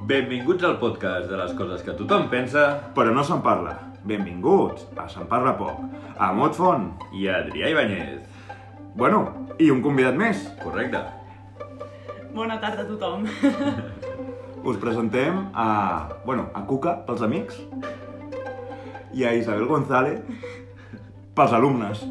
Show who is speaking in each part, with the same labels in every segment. Speaker 1: Benvinguts al podcast de les coses que tothom pensa
Speaker 2: Però no se'n parla. Benvinguts a Se'n parla poc. A Mot Font.
Speaker 1: i Adrià Ibáñez.
Speaker 2: Bueno, i un convidat més.
Speaker 1: Correcte.
Speaker 3: Bona tarda a tothom.
Speaker 2: Us presentem a... Bueno, a Cuca, pels amics. I a Isabel González, pels alumnes.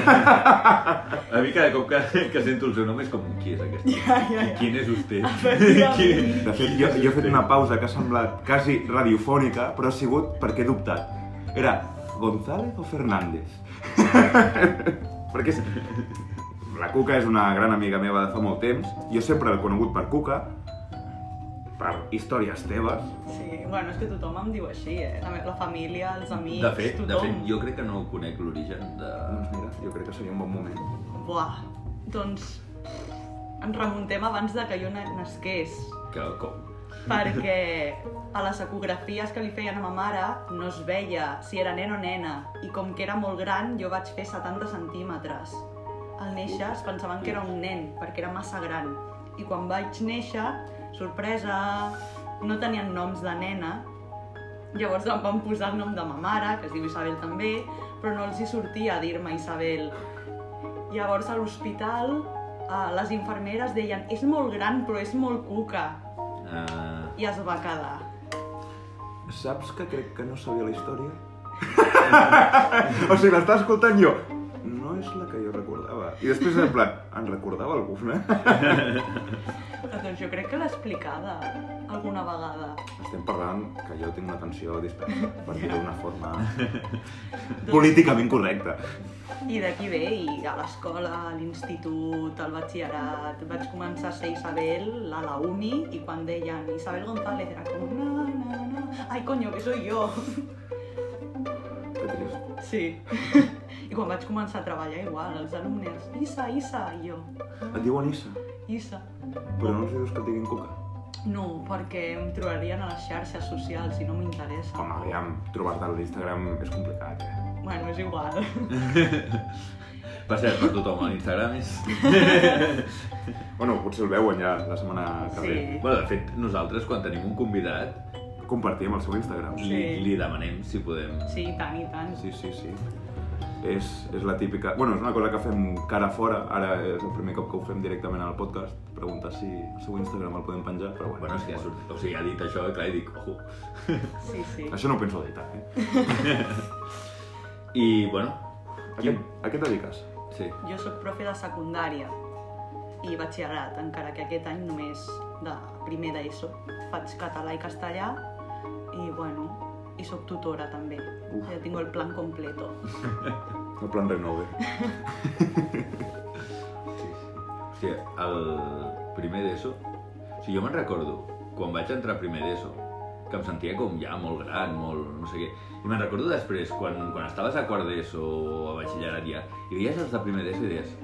Speaker 1: A mi cada cop que, que sento el seu nom és com qui és aquest?
Speaker 3: Ja, ja, ja.
Speaker 1: Quin és vostè?
Speaker 3: Efectivament.
Speaker 2: De fet, jo, jo he fet una pausa que ha semblat quasi radiofònica, però ha sigut perquè he dubtat. Era González o Fernández? perquè és... la Cuca és una gran amiga meva de fa molt temps. Jo sempre l'he conegut per Cuca, per històries teves.
Speaker 3: Sí, bueno, és que tothom em diu així, eh? La, me- la família, els amics,
Speaker 1: De fet, de
Speaker 3: tothom.
Speaker 1: fet, jo crec que no conec l'origen de...
Speaker 2: Doncs mira, jo crec que seria un bon moment.
Speaker 3: Buah, doncs ens remuntem abans de que jo na- nasqués,
Speaker 1: Que, com?
Speaker 3: perquè a les ecografies que li feien a ma mare no es veia si era nen o nena, i com que era molt gran, jo vaig fer 70 centímetres. Al néixer es pensaven que era un nen, perquè era massa gran. I quan vaig néixer, sorpresa, no tenien noms de nena, Llavors em van posar el nom de ma mare, que es diu Isabel també, però no els hi sortia a dir-me Isabel. Llavors a l'hospital eh, les infermeres deien és molt gran però és molt cuca
Speaker 1: Uh,
Speaker 3: i es va quedar.
Speaker 2: Saps que crec que no sabia la història? o sigui, l'estava escoltant jo. No és la que jo recordava. I després, en plan, en recordava alguna?
Speaker 3: Doncs jo crec que l'he explicada alguna vegada.
Speaker 2: Estem parlant que jo tinc una atenció dispersa, per dir-ho d'una forma
Speaker 3: Doncs-
Speaker 2: políticament correcta.
Speaker 3: I d'aquí ve, i a l'escola, a l'institut, al batxillerat, vaig començar a ser Isabel a la uni i quan deien Isabel González era com na, na, na, ai coño, que soy yo.
Speaker 1: Doncs-
Speaker 2: Que trist.
Speaker 3: Sí. I quan vaig començar a treballar igual, els alumnes, Isa, Isa, i jo,
Speaker 2: Et diuen Issa,
Speaker 3: Isa.
Speaker 2: però no els dius que et diguin Cuca.
Speaker 3: No, perquè em trobarien a les xarxes socials i no m'interessa.
Speaker 2: Home, aviam, trobar-te a l'Instagram és complicat, eh?
Speaker 3: Bueno, és igual.
Speaker 1: per cert, per tothom, a l'Instagram és...
Speaker 2: Bueno, potser el veuen ja la setmana que
Speaker 3: Sí.
Speaker 1: Bueno, de fet, nosaltres quan tenim un convidat
Speaker 2: ve. Compartim el seu Instagram.
Speaker 1: li,
Speaker 3: Sí.
Speaker 1: li demanem si podem...
Speaker 3: Sí, i tant, i tant.
Speaker 2: Sí, sí, sí. És, és la típica... Bueno, és una cosa que fem cara fora. Ara és el primer cop que ho fem directament al podcast. Preguntar si el seu Instagram el podem penjar, però bueno.
Speaker 1: Bueno, és que ha sortit... O sigui, ha dit això, clar, i dic, ojo.
Speaker 3: Sí, sí.
Speaker 2: Això no ho penso editar, eh?
Speaker 1: I, bueno,
Speaker 2: A què,
Speaker 1: Quin-
Speaker 2: a què et dediques?
Speaker 1: sí.
Speaker 3: Jo sóc profe de secundària i batxillerat, encara que aquest any només de primer d'ESO. Faig català i castellà i, bueno, i sóc tutora també.
Speaker 2: Uf.
Speaker 3: Ja tinc el plan completo.
Speaker 2: El plan renove.
Speaker 1: Hòstia, el primer d'ESO... O sigui, jo me'n recordo, quan vaig entrar a primer d'ESO, que em sentia com ja molt gran, molt no sé què. I me'n recordo després, quan, quan estaves a quart d'ESO o a batxillerat ja, i veies els de primer d'ESO i deies,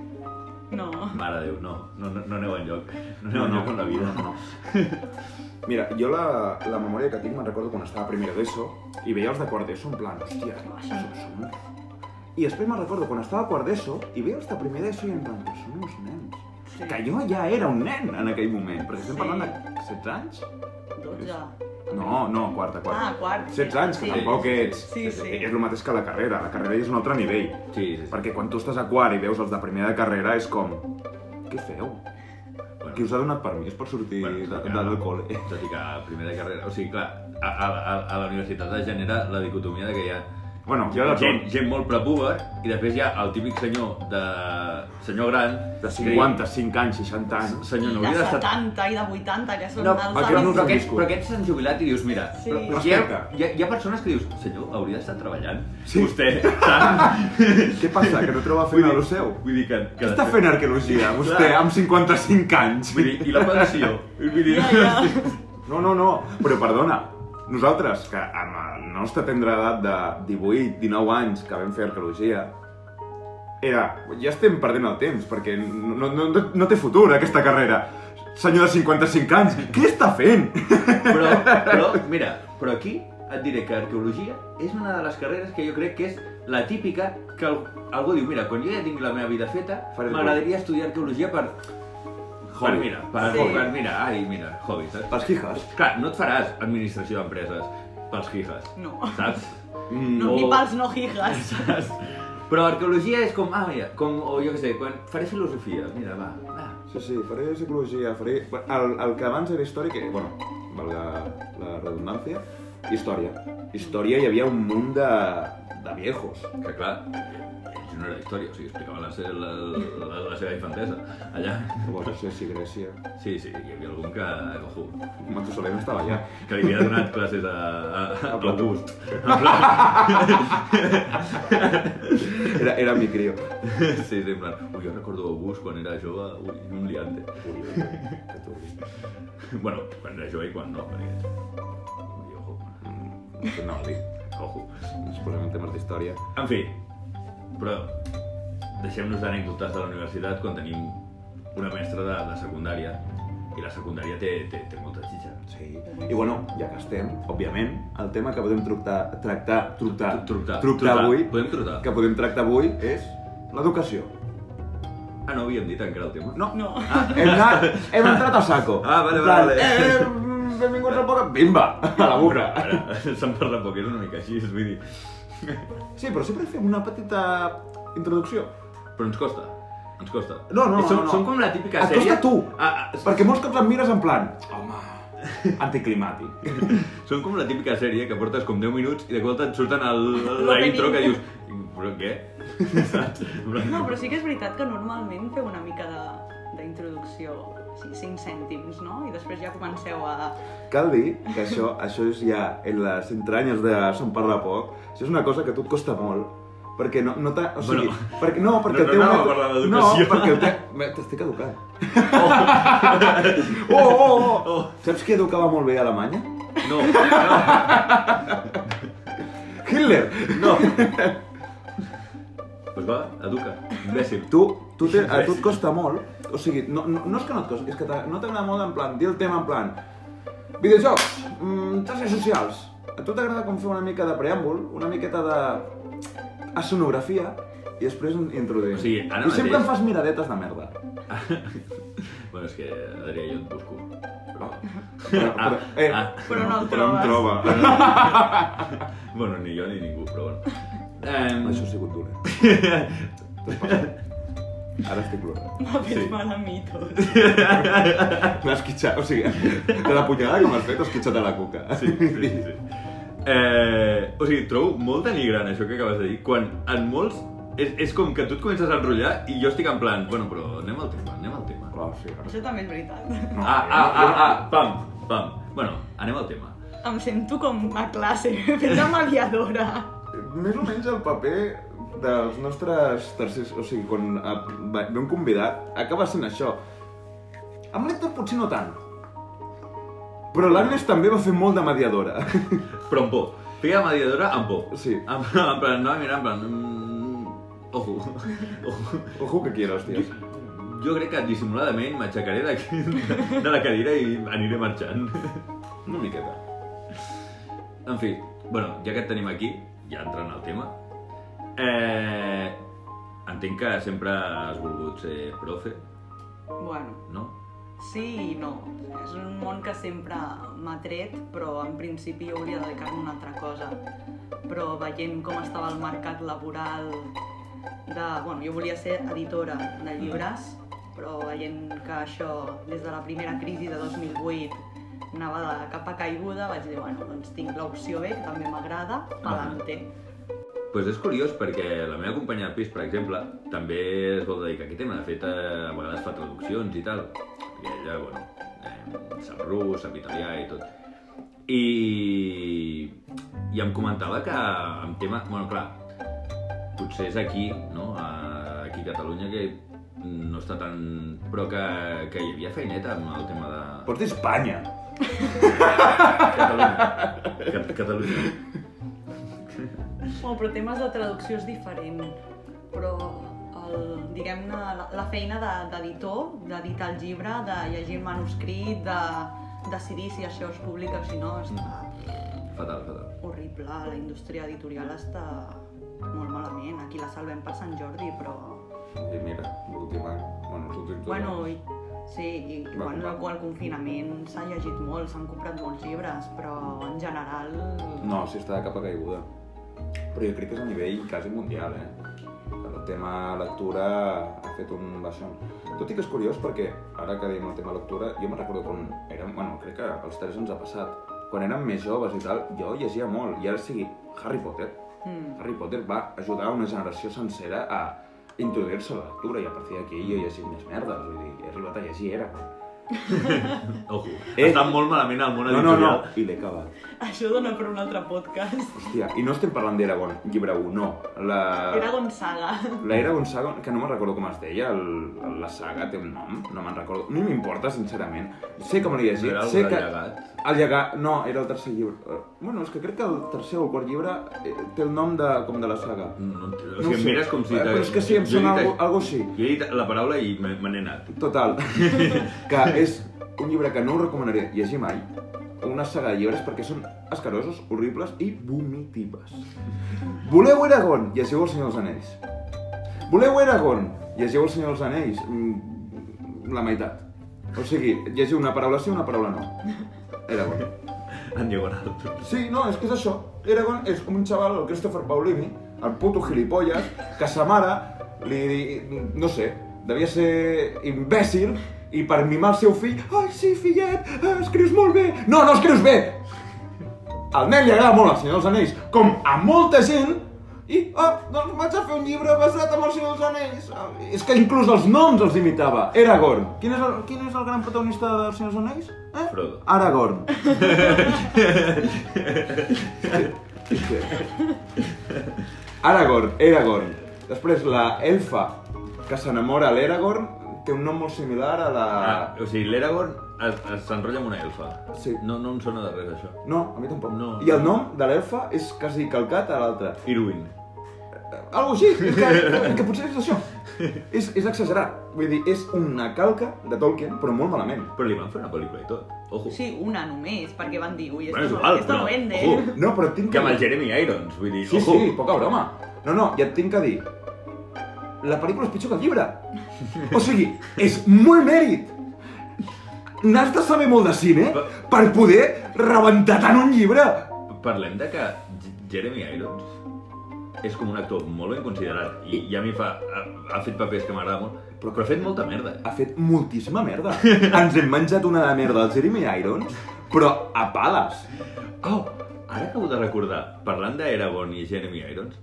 Speaker 3: No.
Speaker 1: mare de Déu, no, no, no, no aneu enlloc, no aneu
Speaker 2: No, no,
Speaker 1: enlloc amb la vida.
Speaker 2: no, Mira, jo la, la memòria que tinc me'n recordo quan estava a primera d'ESO i veia els de quart d'ESO en plan, hòstia, som, som... I després me'n recordo quan estava a quart d'ESO i veia els de primer d'ESO i en plan, que són uns nens.
Speaker 3: Sí.
Speaker 2: Que jo ja era un nen en aquell moment, perquè estem
Speaker 3: Sí.
Speaker 2: parlant de 16 anys?
Speaker 3: 12.
Speaker 2: No, no, quarta, quarta.
Speaker 3: Ah, quart.
Speaker 2: 16 anys, que
Speaker 3: Sí.
Speaker 2: tampoc ets...
Speaker 3: Sí, sí.
Speaker 2: És el mateix que la carrera, la carrera és un altre nivell.
Speaker 1: Sí, sí, sí.
Speaker 2: Perquè quan tu estàs a quart i veus els de primera de carrera és com... Què feu?
Speaker 1: Bueno.
Speaker 2: Qui us ha donat permís per sortir
Speaker 1: Bueno,
Speaker 2: de,
Speaker 1: clar.
Speaker 2: del col·le?
Speaker 1: Tot i que a primer de carrera... O sigui, clar, a, a, a, a la universitat es genera la dicotomia de que hi ha
Speaker 2: Bueno,
Speaker 1: Jo
Speaker 2: jo de
Speaker 1: gent,
Speaker 2: tot.
Speaker 1: gent molt prepúber i després hi ha el típic senyor de... senyor gran...
Speaker 2: De 55 anys, 60 anys.
Speaker 1: Ah, Senyor, no
Speaker 3: I
Speaker 1: hauria
Speaker 3: de
Speaker 1: d'estar
Speaker 3: 70 i de 80, que són
Speaker 1: No,
Speaker 3: els
Speaker 2: va
Speaker 1: però,
Speaker 2: quedar-nos
Speaker 3: avis.
Speaker 1: però,
Speaker 2: un
Speaker 1: aquests,
Speaker 2: discurs.
Speaker 1: però aquests s'han jubilat i dius, mira,
Speaker 3: Sí.
Speaker 1: però, però hi, ha,
Speaker 2: Respecte.
Speaker 1: hi, ha, hi ha persones que dius, senyor, hauria d'estar treballant,
Speaker 2: Sí.
Speaker 1: vostè, saps?
Speaker 2: Què passa, que no troba
Speaker 1: Vull
Speaker 2: feina
Speaker 1: dir-
Speaker 2: a lo seu?
Speaker 1: Vull dir que...
Speaker 2: Què està fent arqueologia, vostè,
Speaker 1: Clar.
Speaker 2: amb 55 anys?
Speaker 1: Vull dir, i la pensió? Vull dir,
Speaker 3: Ja, ja.
Speaker 2: No, no, no, però perdona, nosaltres, que amb la nostra tendra edat de 18, 19 anys que vam fer arqueologia, era, ja estem perdent el temps, perquè no, no, no, no té futur aquesta carrera. Senyor de 55 anys, què està fent?
Speaker 1: Però, però, mira, però aquí et diré que arqueologia és una de les carreres que jo crec que és la típica que al- algú diu, mira, quan jo ja tingui la meva vida feta,
Speaker 2: Faré el
Speaker 1: m'agradaria estudiar arqueologia per Per
Speaker 2: Hobby.
Speaker 1: mira, per,
Speaker 3: Sí.
Speaker 1: per mira, ai, mira, hobby, saps?
Speaker 2: Pels quijas.
Speaker 1: Clar, no et faràs administració d'empreses pels hijes,
Speaker 3: No.
Speaker 1: saps?
Speaker 2: Mm,
Speaker 3: No,
Speaker 1: O-
Speaker 3: ni pels no hijas.
Speaker 1: Saps? Però arqueologia és com, ah, mira, com, o jo què sé, quan faré filosofia, mira, va, va.
Speaker 2: Sí, sí, faré psicologia, faré... bueno, El, el que abans era història, que, bueno, valga la redundància, història. Història hi havia un munt de, de viejos.
Speaker 1: Que clar, ells no era història, o sigui, explicaven la, se- la, la, la seva infantesa, allà.
Speaker 2: Bueno, no sé si Grècia...
Speaker 1: Sí, sí, hi havia algun que, ojo,
Speaker 2: Matusalem estava allà.
Speaker 1: que li havia donat classes a, a, a,
Speaker 2: A
Speaker 1: a
Speaker 2: Plató.
Speaker 1: August.
Speaker 2: Era, era mi crio.
Speaker 1: Sí, sí, en plan, ui, jo recordo August quan era jove, ui, un liante.
Speaker 2: Ui, que turbis.
Speaker 1: Bueno, quan era jove i quan no, perquè... Ui, ojo,
Speaker 2: Mm, No, dic,
Speaker 1: ojo.
Speaker 2: ens posem en temes d'història.
Speaker 1: En fi, però deixem-nos d'anècdotes de la universitat quan tenim una mestra de, de secundària i la secundària té, té, té molta xitxa.
Speaker 2: Sí. I bueno, ja que estem, òbviament, el tema que podem tractar, tractar, tractar,
Speaker 1: Tru- Tructar,
Speaker 2: tractar avui,
Speaker 1: Podem trucar.
Speaker 2: que podem tractar avui és l'educació.
Speaker 1: Ah, no havíem dit encara el tema.
Speaker 2: No,
Speaker 3: No.
Speaker 2: Hem, anat, hem entrat a saco.
Speaker 1: Ah, vale,
Speaker 2: En plan,
Speaker 1: vale, vale.
Speaker 2: Eh, mm, benvinguts al poc... Bimba, a la burra.
Speaker 1: Ara, se'n parla poc, és una mica així, és vull dir...
Speaker 2: Sí, però sempre fem una petita introducció.
Speaker 1: Però ens costa, ens costa.
Speaker 2: No, no, no,
Speaker 1: som,
Speaker 2: no.
Speaker 1: Som com la típica
Speaker 2: Et
Speaker 1: sèrie...
Speaker 2: costa tu.
Speaker 1: Ah, ah,
Speaker 2: Perquè molts cops em mires en plan, home, anticlimàtic.
Speaker 1: Són com la típica sèrie que portes com 10 minuts i de cop et surten el, la
Speaker 3: L'opening.
Speaker 1: intro que dius... Però què? Saps?
Speaker 3: No, però sí que és veritat que normalment feu una mica de d'introducció, sí, 5 cèntims, no? I després ja comenceu a...
Speaker 2: Cal dir que això, això és ja en les entranyes de se'n parla poc, això és una cosa que a tu et costa molt, perquè no, no t'ha... O sigui,
Speaker 1: Bueno.
Speaker 2: perquè, no, perquè
Speaker 1: No,
Speaker 2: el teu...
Speaker 1: no anava
Speaker 2: mètode-
Speaker 1: a parlar d'educació.
Speaker 2: No, perquè el teu... me- T'estic educant. Oh. oh, oh, oh, Saps qui educava molt bé a Alemanya?
Speaker 1: No, no,
Speaker 2: Hitler!
Speaker 1: no. Pues Doncs va, educa, imbècil.
Speaker 2: Tu, tu te, a tu et costa molt, o sigui, no, no, no és que no et costa, és que t'a- no t'agrada molt en plan, dir el tema en plan, videojocs, mm, xarxes socials, a tu t'agrada com fer una mica de preàmbul, una miqueta de escenografia, i després en- introduïm.
Speaker 1: O sigui, ara
Speaker 2: I sempre
Speaker 1: mateix- Ah,
Speaker 2: em fas miradetes de merda.
Speaker 1: Bueno, és que, Adrià, jo et busco. Però...
Speaker 2: Però, Ah, però, eh,
Speaker 1: ah.
Speaker 3: Però no el
Speaker 2: però em
Speaker 3: trobes.
Speaker 2: troba.
Speaker 1: Bueno, ni jo ni ningú, però bueno. Um,
Speaker 2: Això ha sigut dolent. T'ho has passat. Ara estic plorant.
Speaker 3: M'ha fet
Speaker 1: Sí.
Speaker 3: mal a mi tot.
Speaker 2: M'has quitxat, o sigui, de la punyalada com has fet, has quitxat a la cuca.
Speaker 1: Sí, sí, sí. Eh, o sigui, trobo molt denigrant això que acabes de dir, quan en molts és, és com que tu et comences a enrotllar i jo estic en plan, bueno, però anem al tema, anem al tema.
Speaker 2: Clar, sí, ara
Speaker 3: Això també és veritat.
Speaker 2: No, eh,
Speaker 1: Ah, ah, ah, ah, pam, pam. Bueno, anem al tema.
Speaker 3: Em sento com a classe, fent de mediadora.
Speaker 2: Més o menys el paper dels nostres tercers... O sigui, quan eh, va- ve un convidat, acaba sent això. Amb l'Hector potser no tant. Però l'Agnes també va fer molt de mediadora.
Speaker 1: Però amb por. Feia de mediadora amb por.
Speaker 2: Sí.
Speaker 1: En, en plan, no, mira, en plan... Mm, ojo, ojo.
Speaker 2: Ojo que quiera, hòsties.
Speaker 1: Jo crec que dissimuladament m'aixecaré d'aquí- de la cadira i aniré marxant.
Speaker 2: Una miqueta.
Speaker 1: En fi, bueno, ja que et tenim aquí, ja entrant al tema, eh, entenc que sempre has volgut ser profe,
Speaker 3: Bueno,
Speaker 1: no?
Speaker 3: sí i no. És un món que sempre m'ha tret, però en principi jo volia dedicar-me a una altra cosa. Però veient com estava el mercat laboral de... Bueno, jo volia ser editora de llibres, però veient que això, des de la primera crisi de 2008, anava de cap a caiguda, vaig dir, bueno, doncs tinc l'opció B, que també m'agrada, pa'lante.
Speaker 1: Pues és curiós perquè la meva companya de pis, per exemple, també es vol dedicar a aquest tema. De fet, eh, a vegades fa traduccions i tal. I ella, bueno, eh, sap rus, sap italià i tot. I, I em comentava que amb tema... Bueno, clar, potser és aquí, no? A, aquí a Catalunya que no està tan... Però que, que hi havia feineta amb el tema de
Speaker 2: Pots dir Espanya.
Speaker 1: Catalunya. Cat- Catalunya.
Speaker 3: Bueno, però temes de traducció és diferent, però el- diguem-ne la, la feina de- d'editor, d'editar el llibre, de llegir el manuscrit, de decidir si això es publica o si no, està
Speaker 2: Mm.
Speaker 1: Fatal, fatal.
Speaker 3: horrible. La indústria editorial està molt malament. Aquí la salvem per Sant Jordi, però...
Speaker 2: I mira, l'últim any. Bueno, els últims dos
Speaker 3: Bueno,
Speaker 2: anys.
Speaker 3: i Sí, i, i
Speaker 2: Va,
Speaker 3: bueno,
Speaker 2: va.
Speaker 3: el, el confinament s'ha llegit molt, s'han comprat molts llibres, però en general...
Speaker 2: No, sí, està de capa caiguda. Però jo crec que és a nivell quasi mundial, eh? El tema lectura ha fet un baixón. Tot i que és curiós perquè, ara que diem el tema lectura, jo me'n recordo quan érem... Bueno, crec que als tres ens ha passat. Quan érem més joves i tal, jo llegia molt. I ara sigui Harry Potter.
Speaker 3: Mm.
Speaker 2: Harry Potter va ajudar una generació sencera a introduir-se a la lectura i a partir d'aquí jo he llegit més merdes, vull dir, he arribat a llegir, era.
Speaker 1: Ojo,
Speaker 2: Eh.
Speaker 1: eh. està molt malament al món
Speaker 2: No, no, no,
Speaker 1: editorial.
Speaker 2: i l'he acabat.
Speaker 3: Això dona per un altre podcast.
Speaker 2: Hòstia, i no estem parlant d'Eragon, llibre 1, no. La...
Speaker 3: Era Gonzaga.
Speaker 2: L'Era Gonzaga, que no me'n recordo com es deia, el, la saga té un nom, no me'n recordo. No m'importa, sincerament. Sé que me l'he llegit,
Speaker 1: Era algo
Speaker 2: sé
Speaker 1: del
Speaker 2: que...
Speaker 1: llegat.
Speaker 2: El llegat, no, era el tercer llibre. Eh, Bueno, és que crec que el tercer o el quart llibre eh, té el nom de, com de la saga.
Speaker 1: No, no, o
Speaker 2: No ho
Speaker 1: sigui, em
Speaker 2: sé.
Speaker 1: mires com si...
Speaker 2: Eh, però és que sí, em
Speaker 1: jo he
Speaker 2: sona
Speaker 1: dit-
Speaker 2: algo- algo així.
Speaker 1: Jo he dit la paraula i me me n'he anat.
Speaker 2: Total, que és un llibre que no us recomanaré llegir mai, una saga de llibres perquè són escarosos, horribles i vomitives. Voleu Eragon? Llegiu El Senyor dels Anells. Voleu Eragon? Llegiu El Senyor dels Anells. Mm, La meitat. O sigui, llegiu una paraula sí, una paraula no. Eragon.
Speaker 1: En diagonal.
Speaker 2: Sí, no, és que és això. Eragon és un xaval, el Christopher Paulini, el puto gilipolles, que sa mare li... no sé, devia ser imbècil i per mimar el seu fill... Ai, sí, fillet, eh, escrius molt bé! No, no escrius bé! Al nen li agrada molt el Senyor dels Anells, com a molta gent, i, oh, doncs vaig a fer un llibre basat en el Senyor dels Anells. Ah, És que inclús els noms els imitava. Eragon. Quin és el, quin és el gran protagonista del Senyor dels Anells? Eh?
Speaker 1: Frodo.
Speaker 2: Aragorn. Aragorn, Aragorn. Després la elfa que s'enamora a l'Aragorn té un nom molt similar a la...
Speaker 1: Ah, o sigui, l'Eragon es- es- s'enrotlla amb una elfa.
Speaker 2: Sí.
Speaker 1: No, no em sona de res, això.
Speaker 2: No, a mi tampoc.
Speaker 1: No.
Speaker 2: I el nom de l'elfa és quasi calcat a l'altre.
Speaker 1: Irwin.
Speaker 2: Algo així, és que, que potser és això. És, és exagerar. Vull dir, és una calca de Tolkien, però molt malament.
Speaker 1: Però li van fer una pel·lícula i tot. Ojo.
Speaker 3: Sí, una només, perquè van dir, ui, esto,
Speaker 1: Bueno, és
Speaker 3: no-
Speaker 1: igual,
Speaker 3: esto no
Speaker 1: però-
Speaker 3: vende. ¿eh?
Speaker 1: ojo.
Speaker 2: No, però tinc
Speaker 1: Que amb el
Speaker 2: dir-
Speaker 1: Jeremy Irons, vull dir,
Speaker 2: Sí,
Speaker 1: ojo.
Speaker 2: sí, poca broma. No, no, ja et tinc que dir. La pel·lícula és pitjor que el llibre. O sigui, és molt mèrit. N'has de saber molt de cine per poder rebentar tant un llibre.
Speaker 1: Parlem de que J- Jeremy Irons és com un actor molt ben considerat i, i a mi fa, ha, ha fet papers que m'agrada molt, però, però ha fet molta merda.
Speaker 2: Ha fet moltíssima merda. Ens hem menjat una de merda al Jeremy Irons, però a pales.
Speaker 1: Oh, ara acabo de recordar, parlant d'Eragon i Jeremy Irons,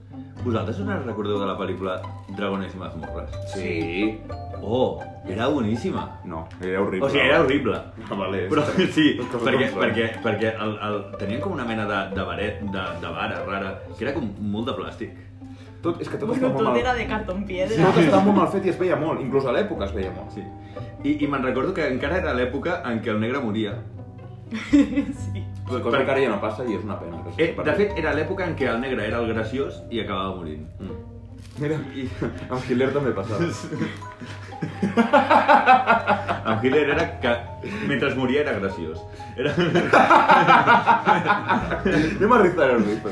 Speaker 1: vosaltres us en recordeu de la pel·lícula Dragones i Mazmorras?
Speaker 2: Sí.
Speaker 1: Oh, era boníssima.
Speaker 2: No, era horrible.
Speaker 1: O sigui, era horrible.
Speaker 2: Ah, vale.
Speaker 1: Però sí,
Speaker 2: Tot cosa
Speaker 1: perquè,
Speaker 2: com fa.
Speaker 1: perquè, perquè el, el, tenien com una mena de, de, baret, de, de vara rara, que era com molt de plàstic.
Speaker 2: Tot, és que tot està
Speaker 3: Bueno,
Speaker 2: molt
Speaker 3: tot era
Speaker 2: mal.
Speaker 3: de cartón piedra.
Speaker 2: Tot estava molt mal fet i es veia molt, inclús a l'època es veia molt.
Speaker 1: Sí. I, i me'n recordo que encara era l'època en què el negre moria.
Speaker 3: Sí.
Speaker 2: Cosa que
Speaker 1: Per-
Speaker 2: ara ja no passa i és una pena. que
Speaker 1: Eh,
Speaker 2: s'hagi
Speaker 1: de
Speaker 2: perdut.
Speaker 1: fet, era l'època en què el negre era el graciós i acabava morint.
Speaker 2: Mira, i amb Hitler també passava.
Speaker 1: Amb Hitler era que, mentre moria, era graciós. Era...
Speaker 2: Anem a rifar el riff.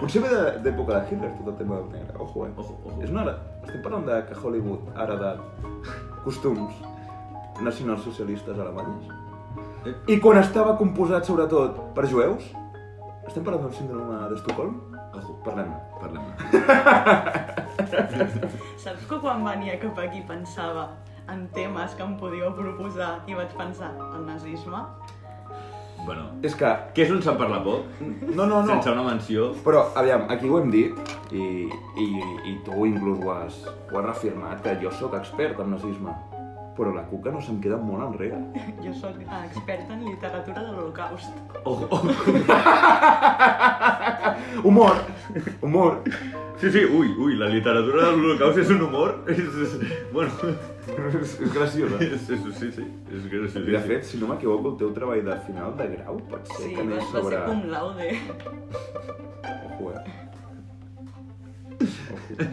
Speaker 2: Potser ve de- d'època de Hitler, tot el tema del negre. Ojo, eh?
Speaker 1: Ojo, ojo.
Speaker 2: És una... Estem parlant de que Hollywood ha heredat costums nacionalsocialistes alemanys.
Speaker 1: Eh.
Speaker 2: I quan estava composat, sobretot, per jueus, estem parlant d'un síndrome d'Estocolm?
Speaker 1: Ojo,
Speaker 2: Parlem.
Speaker 1: parlem.
Speaker 3: Saps que quan venia cap aquí pensava en temes que em podíeu proposar i vaig pensar el nazisme?
Speaker 1: Bueno,
Speaker 2: És que...
Speaker 1: què és un Sant Parla Poc?
Speaker 2: No, no, no.
Speaker 1: Sense una menció.
Speaker 2: Però, aviam, aquí ho hem dit, i, i, i tu inclús ho has, ho has reafirmat, que jo sóc expert en nazisme. Però la cuca no se'm queda molt enrere.
Speaker 3: Jo sóc experta en literatura de l'Holocaust.
Speaker 1: Ojo, ojo.
Speaker 2: Humor! Humor!
Speaker 1: Sí, sí, ui, ui, la literatura de l'Holocaust és un humor. És, és, bueno,
Speaker 2: és, és graciosa.
Speaker 1: és, és, sí, sí, és graciós.
Speaker 2: I de fet, si no m'equivoco, el teu treball de final de grau pot ser
Speaker 3: Sí,
Speaker 2: que
Speaker 3: va,
Speaker 2: anés
Speaker 3: va
Speaker 2: sobre... Eh,
Speaker 3: ser cum laude.
Speaker 2: Ojo, eh? Ojo.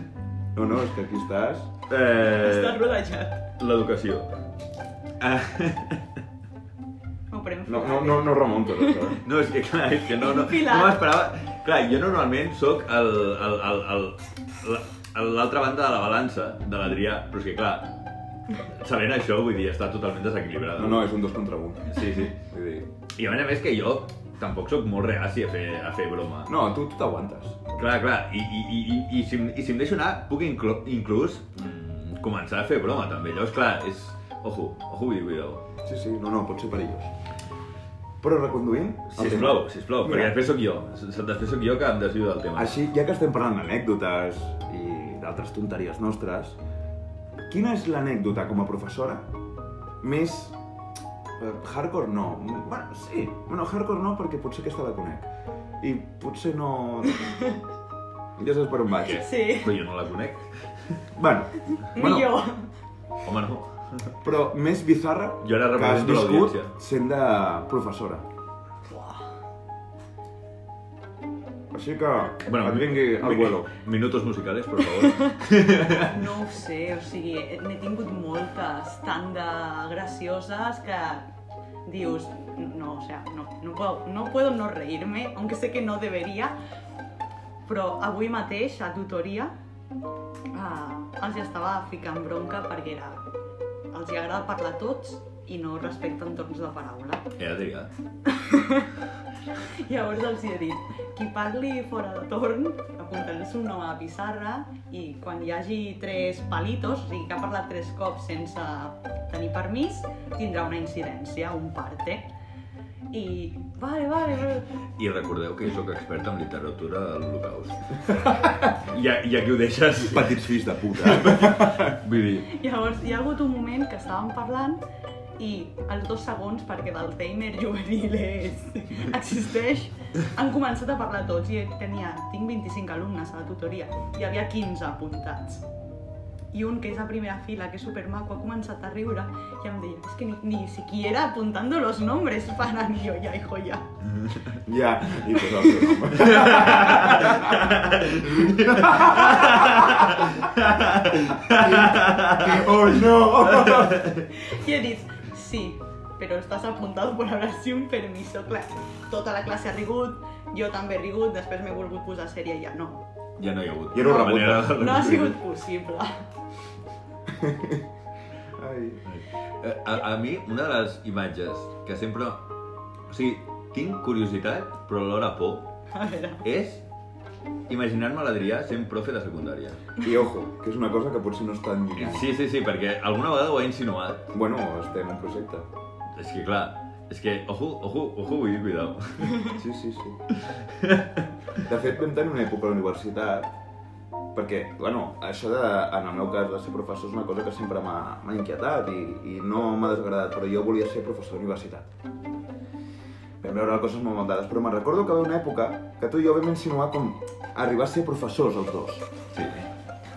Speaker 2: No, no, és que aquí estàs...
Speaker 3: Estàs
Speaker 1: Eh,
Speaker 3: rodejat.
Speaker 1: L'educació. Ah.
Speaker 3: Ho prenem
Speaker 2: No, no, no, no remonto, això, eh?
Speaker 1: No, és que clar, és que no, no,
Speaker 3: Pilar.
Speaker 1: no m'esperava... Clar, jo normalment sóc el, el, el, el, la- l'altra banda de la balança de l'Adrià, però és que clar, sabent això, vull dir, està totalment desequilibrada.
Speaker 2: No, no, és un dos contra un.
Speaker 1: Sí, sí.
Speaker 2: Vull dir...
Speaker 1: I a més a més que jo tampoc sóc molt reaci a fer, a fer broma.
Speaker 2: No, tu tu t'aguantes.
Speaker 1: Clar, clar, i, i, i, i, i, si, em- i si em deixo anar, puc inclo, inclús mm, començar a fer broma també. Llavors, clar, és... Ojo, ojo, vull dir, cuidado.
Speaker 2: Sí, sí, no, no, pot ser perillós. Però reconduïm... el
Speaker 1: Sisplau, sisplau,
Speaker 2: Mira.
Speaker 1: perquè després sóc jo. S- Després sóc jo que em desvio del tema.
Speaker 2: Així, ja que estem parlant d'anècdotes i d'altres tonteries nostres, quina és l'anècdota com a professora més... eh, Hardcore no. Bueno, sí. Bueno, hardcore no, perquè potser aquesta la conec. I potser no... Ja saps per on vaig.
Speaker 1: Què?
Speaker 3: Sí,
Speaker 1: Però jo no la conec.
Speaker 2: Bueno,
Speaker 3: ni
Speaker 2: Bueno.
Speaker 3: jo.
Speaker 1: Home, no.
Speaker 2: però més bizarra
Speaker 1: Jo ara
Speaker 2: que has
Speaker 1: represento
Speaker 2: viscut
Speaker 1: l'audiència.
Speaker 2: sent de professora.
Speaker 3: Uah.
Speaker 2: Així que
Speaker 1: Bueno,
Speaker 2: et vingui al vuelo.
Speaker 1: Minutos musicales, por favor.
Speaker 3: No ho sé, o sigui, n'he tingut moltes, tant de gracioses que dius, no, o sea, no, no, puedo, no puedo no reírme, aunque sé que no debería, però avui mateix a tutoria eh, els hi estava ficant bronca perquè era, els hi agrada parlar a tots i no respecten torns de paraula.
Speaker 1: He trigat.
Speaker 3: Llavors els hi he dit, qui parli fora de torn, apuntant-se un nom a la pissarra i quan hi hagi tres palitos, o sigui que ha parlat tres cops sense tenir permís, tindrà una incidència, un parte. I, vale, vale, vale.
Speaker 1: I recordeu que jo sóc expert en literatura de l'Holocaust. I, a- I aquí ho deixes.
Speaker 2: Petits fills de puta.
Speaker 1: Vull dir,
Speaker 3: Llavors hi ha hagut un moment que estàvem parlant i als dos segons, perquè l'Alzheimer juvenil és, existeix, han començat a parlar tots i tenia, tinc 25 alumnes a la tutoria, hi havia 15 apuntats. I un que és a primera fila, que és supermaco, ha començat a riure i em deia, és que ni, ni siquiera apuntando los nombres paran, i jo, ja, hijo, ja.
Speaker 2: ja, i posa el seu nom. Oh no!
Speaker 3: Y he dit, sí, però estàs apuntat per haver si un permiso. Clar, tota la classe ha rigut, jo també he rigut, després m'he volgut posar sèria i ja no.
Speaker 1: ja no hi ha hagut.
Speaker 2: Ja no
Speaker 1: cap
Speaker 2: rebota.
Speaker 1: manera de-
Speaker 3: No ha sigut possible.
Speaker 2: Ai.
Speaker 1: Eh, A, a mi, una de les imatges que sempre... O sigui, tinc curiositat, però alhora por,
Speaker 3: A veure,
Speaker 1: és imaginar-me l'Adrià sent profe de secundària.
Speaker 2: I ojo, que és una cosa que potser no és tan llunyana.
Speaker 1: Sí, sí, sí, perquè alguna vegada ho he insinuat.
Speaker 2: Bueno, estem en projecte.
Speaker 1: És que, clar, és que, ojo, ojo, ojo, vull dir, cuidao.
Speaker 2: Sí, sí, sí. De fet, vam tenir una època a la universitat perquè, bueno, això de, en el meu cas de ser professor és una cosa que sempre m'ha m'ha inquietat i, i no m'ha desagradat, però jo volia ser professor d'universitat. Vam veure coses molt maldades, però me'n recordo que va haver una època que tu i jo vam insinuar com arribar a ser professors els dos.
Speaker 1: Sí.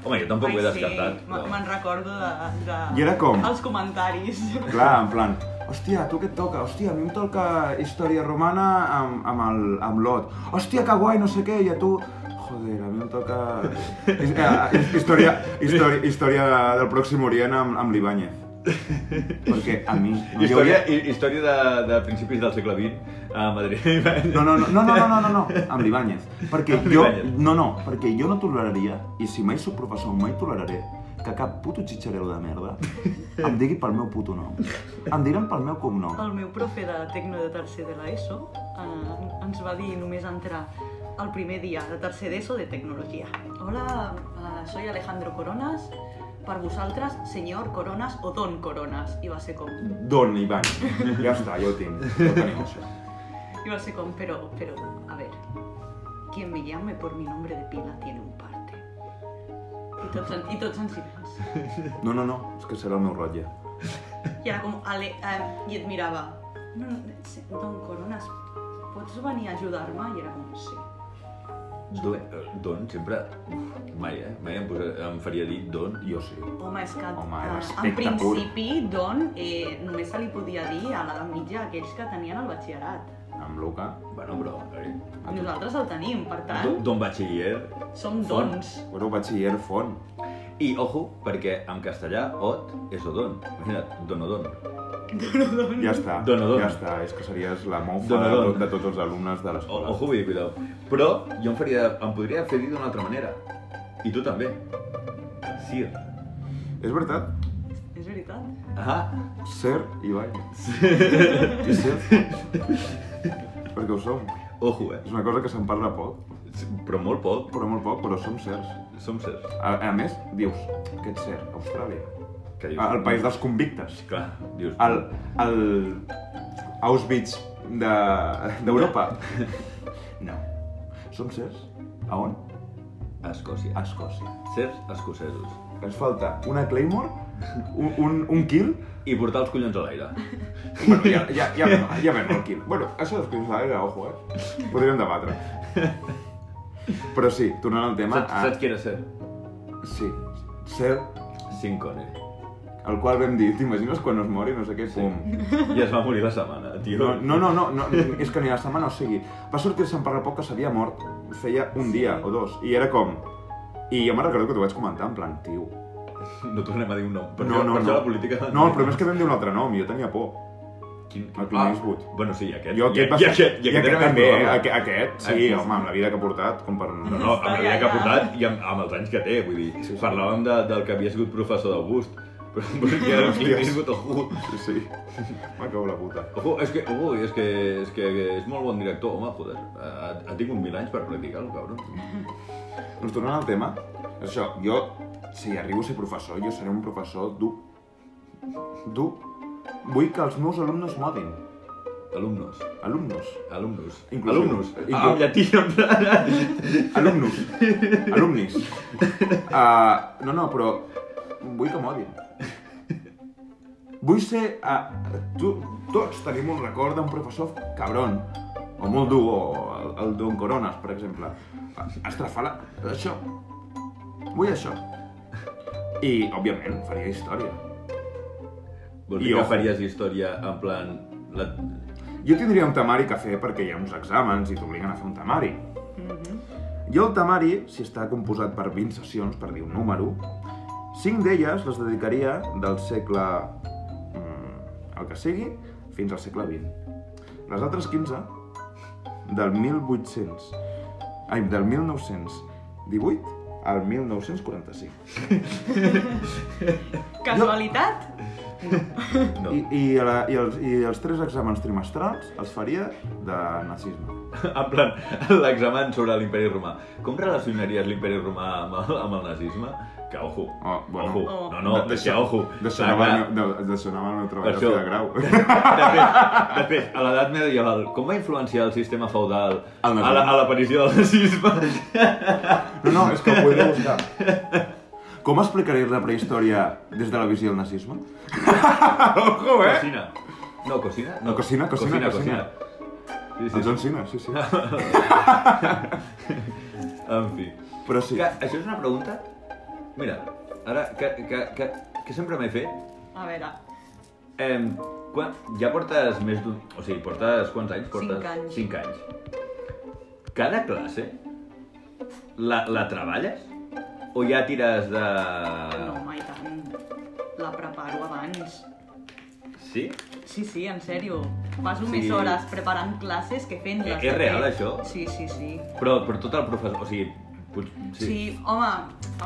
Speaker 1: Home, jo tampoc ho he
Speaker 3: ai, sí,
Speaker 1: descartat.
Speaker 3: me- me'n recordo de, de...
Speaker 2: I era com?
Speaker 3: Els comentaris.
Speaker 2: Clar, en plan, hòstia, tu què et toca? Hòstia, a mi em toca història romana amb, amb, el, amb l'Ot. Hòstia, que guai, no sé què, i a tu... Joder, a mi em toca... His- eh, his- història, història, història del Pròxim Orient amb, amb l'Ibáñez. Perquè a mi... No, jo
Speaker 1: Història,
Speaker 2: hauria-
Speaker 1: hi- història de, de principis del segle XX a Madrid.
Speaker 2: No, no, no, no, no, no, no, no, amb l'Ibáñez. Perquè
Speaker 1: Amb
Speaker 2: jo...
Speaker 1: l'Ibáñez.
Speaker 2: No, no, perquè jo no toleraria, i si mai soc professor mai toleraré, que cap puto xitxareu de merda em digui pel meu puto nom. Em diran pel meu cognom.
Speaker 3: El meu profe de Tecno de tercer de l'ESO eh, ens va dir només entrar el primer dia de tercer d'ESO de tecnologia. Hola, eh, soy Alejandro Coronas, per vosaltres, senyor Coronas o don Coronas. I va ser com,
Speaker 2: Don Iván. Ja està, ja ho tinc. No tenim això.
Speaker 3: Y va a ser con, pero, pero, a ver, quien me llame por mi nombre de pila tiene un parte. Y tots en, i tots en silenci.
Speaker 2: No, no, no, és que serà el meu rotlle.
Speaker 3: I era com, ale, eh, i et mirava, no, no, se- don Coronas, pots venir a ajudar-me? I era com, sí.
Speaker 1: Don, eh, don sempre... Mai, eh? Mai em, posa, em faria dir don.
Speaker 2: Jo sí.
Speaker 3: Home, és que
Speaker 2: Home,
Speaker 3: eh, en
Speaker 2: respecte pur.
Speaker 3: principi, don, eh, només se li podia dir a l'edat mitja a aquells que tenien el batxillerat.
Speaker 2: Amb Luca.
Speaker 1: Bueno, però... Eh?
Speaker 2: A tu.
Speaker 3: Nosaltres el tenim, per
Speaker 1: Don,
Speaker 3: tant,
Speaker 1: don Bachiller.
Speaker 3: som
Speaker 1: Font.
Speaker 3: dons.
Speaker 2: Bueno, batxiller font.
Speaker 1: I ojo, perquè en castellà ot és odon. Imagina't, donodon.
Speaker 2: Ja està.
Speaker 1: Donador.
Speaker 2: Ja està, és que series la mofa de,
Speaker 1: Donador.
Speaker 2: tot, de tots els alumnes de
Speaker 1: O,
Speaker 2: l'escola.
Speaker 1: ojo, vull dir, cuidao. Però jo em, faria, em podria fer dir d'una altra manera. I tu també. Sir.
Speaker 2: És veritat?
Speaker 3: És veritat.
Speaker 1: Ah,
Speaker 2: Ser Ibáñez. I ser Perquè ho som.
Speaker 1: ojo, eh?
Speaker 2: És una cosa que se'n parla poc,
Speaker 1: Però molt poc.
Speaker 2: però molt poc, però som certs.
Speaker 1: Som certs.
Speaker 2: A, a més, dius, què ets cert? Austràlia.
Speaker 1: Que
Speaker 2: Ah, El, el país dels convictes.
Speaker 1: Clar, dius...
Speaker 2: El, el Auschwitz de- d'Europa. No. Som certs? A on?
Speaker 1: A "Hm, Escòcia.
Speaker 2: A Escòcia.
Speaker 1: Certs escocesos.
Speaker 2: Ens falta una Claymore, un, un, un kill...
Speaker 1: I portar els collons a l'aire.
Speaker 2: Bueno, ja, ja, ja, ja, ja vam el kill. Bueno, això dels crims de l'aire, ojo, eh? Podríem debatre. Però sí, tornant al tema...
Speaker 1: Saps, saps qui era ser?
Speaker 2: A... Sí, cel,
Speaker 1: Sin Connery.
Speaker 2: el qual vam dir, t'imagines quan es mori, no sé què, pum.
Speaker 1: I es va morir la setmana, tio.
Speaker 2: No, no, no, no, no, és que ni la setmana, o sigui, va sortir-se'n per la poc que s'havia mort, feia un dia o dos, i era com... I jo me'n recordo que t'ho vaig comentar, en plan, tio...
Speaker 1: No tornem a dir un nom. Per
Speaker 2: no,
Speaker 1: això-
Speaker 2: no,
Speaker 1: per
Speaker 2: no.
Speaker 1: això la política...
Speaker 2: No, el problema és que vam dir un altre nom, i jo tenia por.
Speaker 1: Quin...
Speaker 2: el Clint Eastwood.
Speaker 1: Bueno, sí, i aquest.
Speaker 2: Jo aquest
Speaker 1: I,
Speaker 2: va
Speaker 1: i aquest, i aquest,
Speaker 2: aquest
Speaker 1: era
Speaker 2: també, eh?
Speaker 1: enorme.
Speaker 2: Aqu- Aquest, sí,
Speaker 1: Aquest.
Speaker 2: home, amb la vida que ha portat, com per...
Speaker 1: Ah, No, no, amb la vida que ha
Speaker 3: Ja, ja.
Speaker 1: portat i amb, amb els anys que té, vull dir,
Speaker 2: Sí, sí.
Speaker 1: parlàvem de, del que havia sigut professor d'August, però perquè era un
Speaker 2: Hòsties.
Speaker 1: Clint Eastwood, ojo,
Speaker 2: Sí, sí. Me cago en la puta.
Speaker 1: ojo, és que, ojo, és que, és que és molt bon director, home, joder, eh, ha, ha tingut mil anys per practicar-lo, cabron.
Speaker 2: Doncs tornant al tema, és això, jo, si arribo a ser professor, jo seré un professor dur. Dur. Vull que els meus alumnes m'odin.
Speaker 1: Alumnos,
Speaker 2: Alumnos.
Speaker 1: alumnos,
Speaker 2: Inclusiu.
Speaker 1: alumnos,
Speaker 2: Inclu-
Speaker 1: ah, amb llatí, en plan,
Speaker 2: Alumnus. Alumnis. Uh, no, no, però vull que m'odin. Vull ser... Uh, tu, tots tenim un record d'un professor cabron. O molt dur, o el, el Don Coronas, per exemple. Estrafala... Això. Vull això. I, òbviament, faria història.
Speaker 1: Vol
Speaker 2: I
Speaker 1: dir que
Speaker 2: ojo.
Speaker 1: faries història en plan, la...
Speaker 2: Jo tindria un temari que fer perquè hi ha uns exàmens i t'obliguen a fer un temari. Jo el temari, si està composat per 20 sessions, per dir un número, 5 d'elles les dedicaria del segle... mm, el que sigui, fins al segle XX. Les altres 15, del 1800... Ai, del 1918 al 1945.
Speaker 3: Casualitat?
Speaker 1: no,
Speaker 2: I, i, a la, i, els, I els tres exàmens trimestrals els faria de nazisme.
Speaker 1: en plan, l'examen sobre l'imperi romà. Com relacionaries l'imperi romà amb el, amb el nazisme? Que ojo,
Speaker 2: Oh, bueno.
Speaker 1: ojo,
Speaker 3: Oh.
Speaker 1: no, no, de, que ojo.
Speaker 2: Deixonava
Speaker 1: clar,
Speaker 2: el, meu- de, deixonava el meu treball
Speaker 1: Per
Speaker 2: de
Speaker 1: això.
Speaker 2: fi de grau.
Speaker 1: De fet, de fet, a l'edat medieval, com va influenciar el Eh? sistema feudal a
Speaker 2: El nazisme.
Speaker 1: la- a l'aparició del nazisme?
Speaker 2: No, no, és que ho podré buscar. Com explicaries la prehistòria des de la visió del nazisme? Ojo,
Speaker 1: Cocina. No, cocina? Doncs- No,
Speaker 2: Cocina, cocina, cocina.
Speaker 1: Sí, sí,
Speaker 2: El John Cena, sí, sí.
Speaker 1: sí. En fi.
Speaker 2: Però sí,
Speaker 1: Que, això és una pregunta... Mira, ara, que, que, que, que sempre m'he fet,
Speaker 3: A veure,
Speaker 1: Eh, quan, ja portes més d'un... O sigui, portes quants anys? Portes
Speaker 3: Cinc
Speaker 1: 5
Speaker 3: anys.
Speaker 1: anys. Cada classe la, la treballes? O ja tires de... Ah.
Speaker 3: no, mai tant. La preparo abans.
Speaker 1: Sí?
Speaker 3: Sí, sí, en sèrio. Passo
Speaker 1: Sí.
Speaker 3: més hores preparant classes que fent-les.
Speaker 1: És
Speaker 3: de
Speaker 1: real,
Speaker 3: fet.
Speaker 1: això?
Speaker 3: Sí, sí, sí.
Speaker 1: Però, però tot el professor... O sigui, pot,
Speaker 3: Sí. home,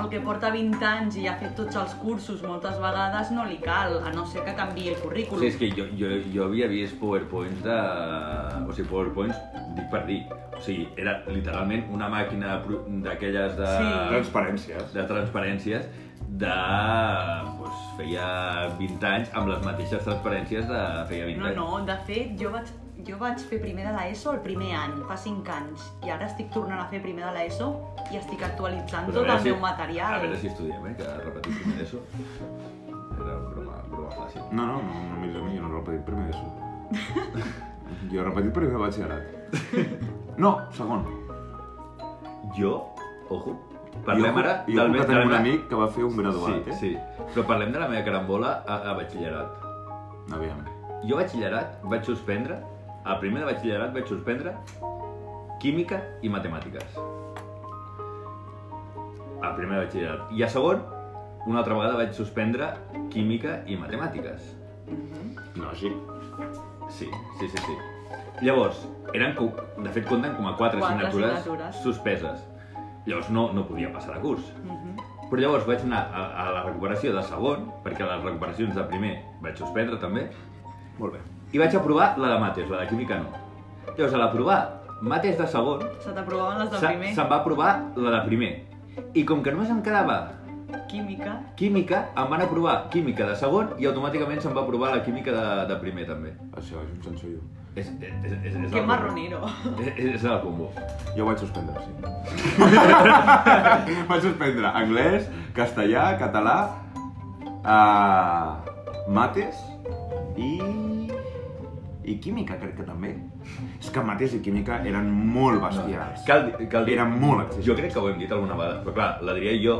Speaker 3: el que porta 20 anys i ha fet tots els cursos moltes vegades no li cal, a no ser que canviï el currículum.
Speaker 1: Sí, és que jo, jo, jo havia vist powerpoints de... O sigui, powerpoints, dic per dir. O sigui, era literalment una màquina pro- d'aquelles de...
Speaker 3: Sí.
Speaker 2: transparències.
Speaker 1: de transparències de... Pues, feia 20 anys amb les mateixes transparències de feia 20
Speaker 3: No,
Speaker 1: anys.
Speaker 3: no, de fet, jo vaig, jo vaig fer primer de l'ESO el primer any, fa 5 anys, i ara estic tornant a fer primer de l'ESO i estic actualitzant
Speaker 1: Pues a
Speaker 3: tot
Speaker 1: veure
Speaker 3: el
Speaker 1: si-
Speaker 3: meu material.
Speaker 1: A veure si estudiem, eh, que repetir primer d'ESO. Era broma, broma fàcil.
Speaker 2: No, no, no, només a mi, jo no he repetit primer d'ESO. Jo he repetit primer de batxillerat. No, segon.
Speaker 1: Jo, ojo, parlem
Speaker 2: jo,
Speaker 1: ara
Speaker 2: jo del que
Speaker 1: de la
Speaker 2: tenim un
Speaker 1: meva-
Speaker 2: amic que va fer un graduat,
Speaker 1: Sí,
Speaker 2: eh?
Speaker 1: sí. Però parlem de la meva carambola a, a batxillerat.
Speaker 2: Aviam.
Speaker 1: Jo a batxillerat vaig suspendre, a primer de batxillerat vaig suspendre química i matemàtiques. A primer de batxillerat. I a segon, una altra vegada vaig suspendre química i matemàtiques.
Speaker 2: Lògic.
Speaker 1: Sí, sí, sí, sí. Llavors, eren, co- de fet compten com a quatre,
Speaker 3: Quatre
Speaker 1: assignatures,
Speaker 3: assignatures.
Speaker 1: suspeses. Llavors no, no podia passar de curs.
Speaker 3: Mhm.
Speaker 1: Però llavors vaig anar a, a la recuperació de segon, perquè a les recuperacions de primer vaig suspendre també,
Speaker 2: Molt bé.
Speaker 1: i vaig aprovar la de mates, la de química no. Llavors, a l'aprovar mates de segon,
Speaker 3: Se t'aprovaven les del
Speaker 1: se-
Speaker 3: primer.
Speaker 1: se'm va aprovar la de primer. I com que només em quedava
Speaker 3: Química.
Speaker 1: química, em van aprovar química de segon i automàticament se'm va aprovar la química de, de primer també.
Speaker 2: Això és un sensull.
Speaker 1: És, és, és, és, és
Speaker 3: Que
Speaker 1: el-
Speaker 3: marronero.
Speaker 1: És, és el combo.
Speaker 2: Jo ho vaig suspendre, sí. vaig suspendre anglès, castellà, català, uh, mates i... i química, crec que també. És que mates i química eren molt bestials.
Speaker 1: Cal, di- cal dir...
Speaker 2: Era molt exigent.
Speaker 1: Jo crec que ho hem dit alguna vegada, però clar, la diria jo,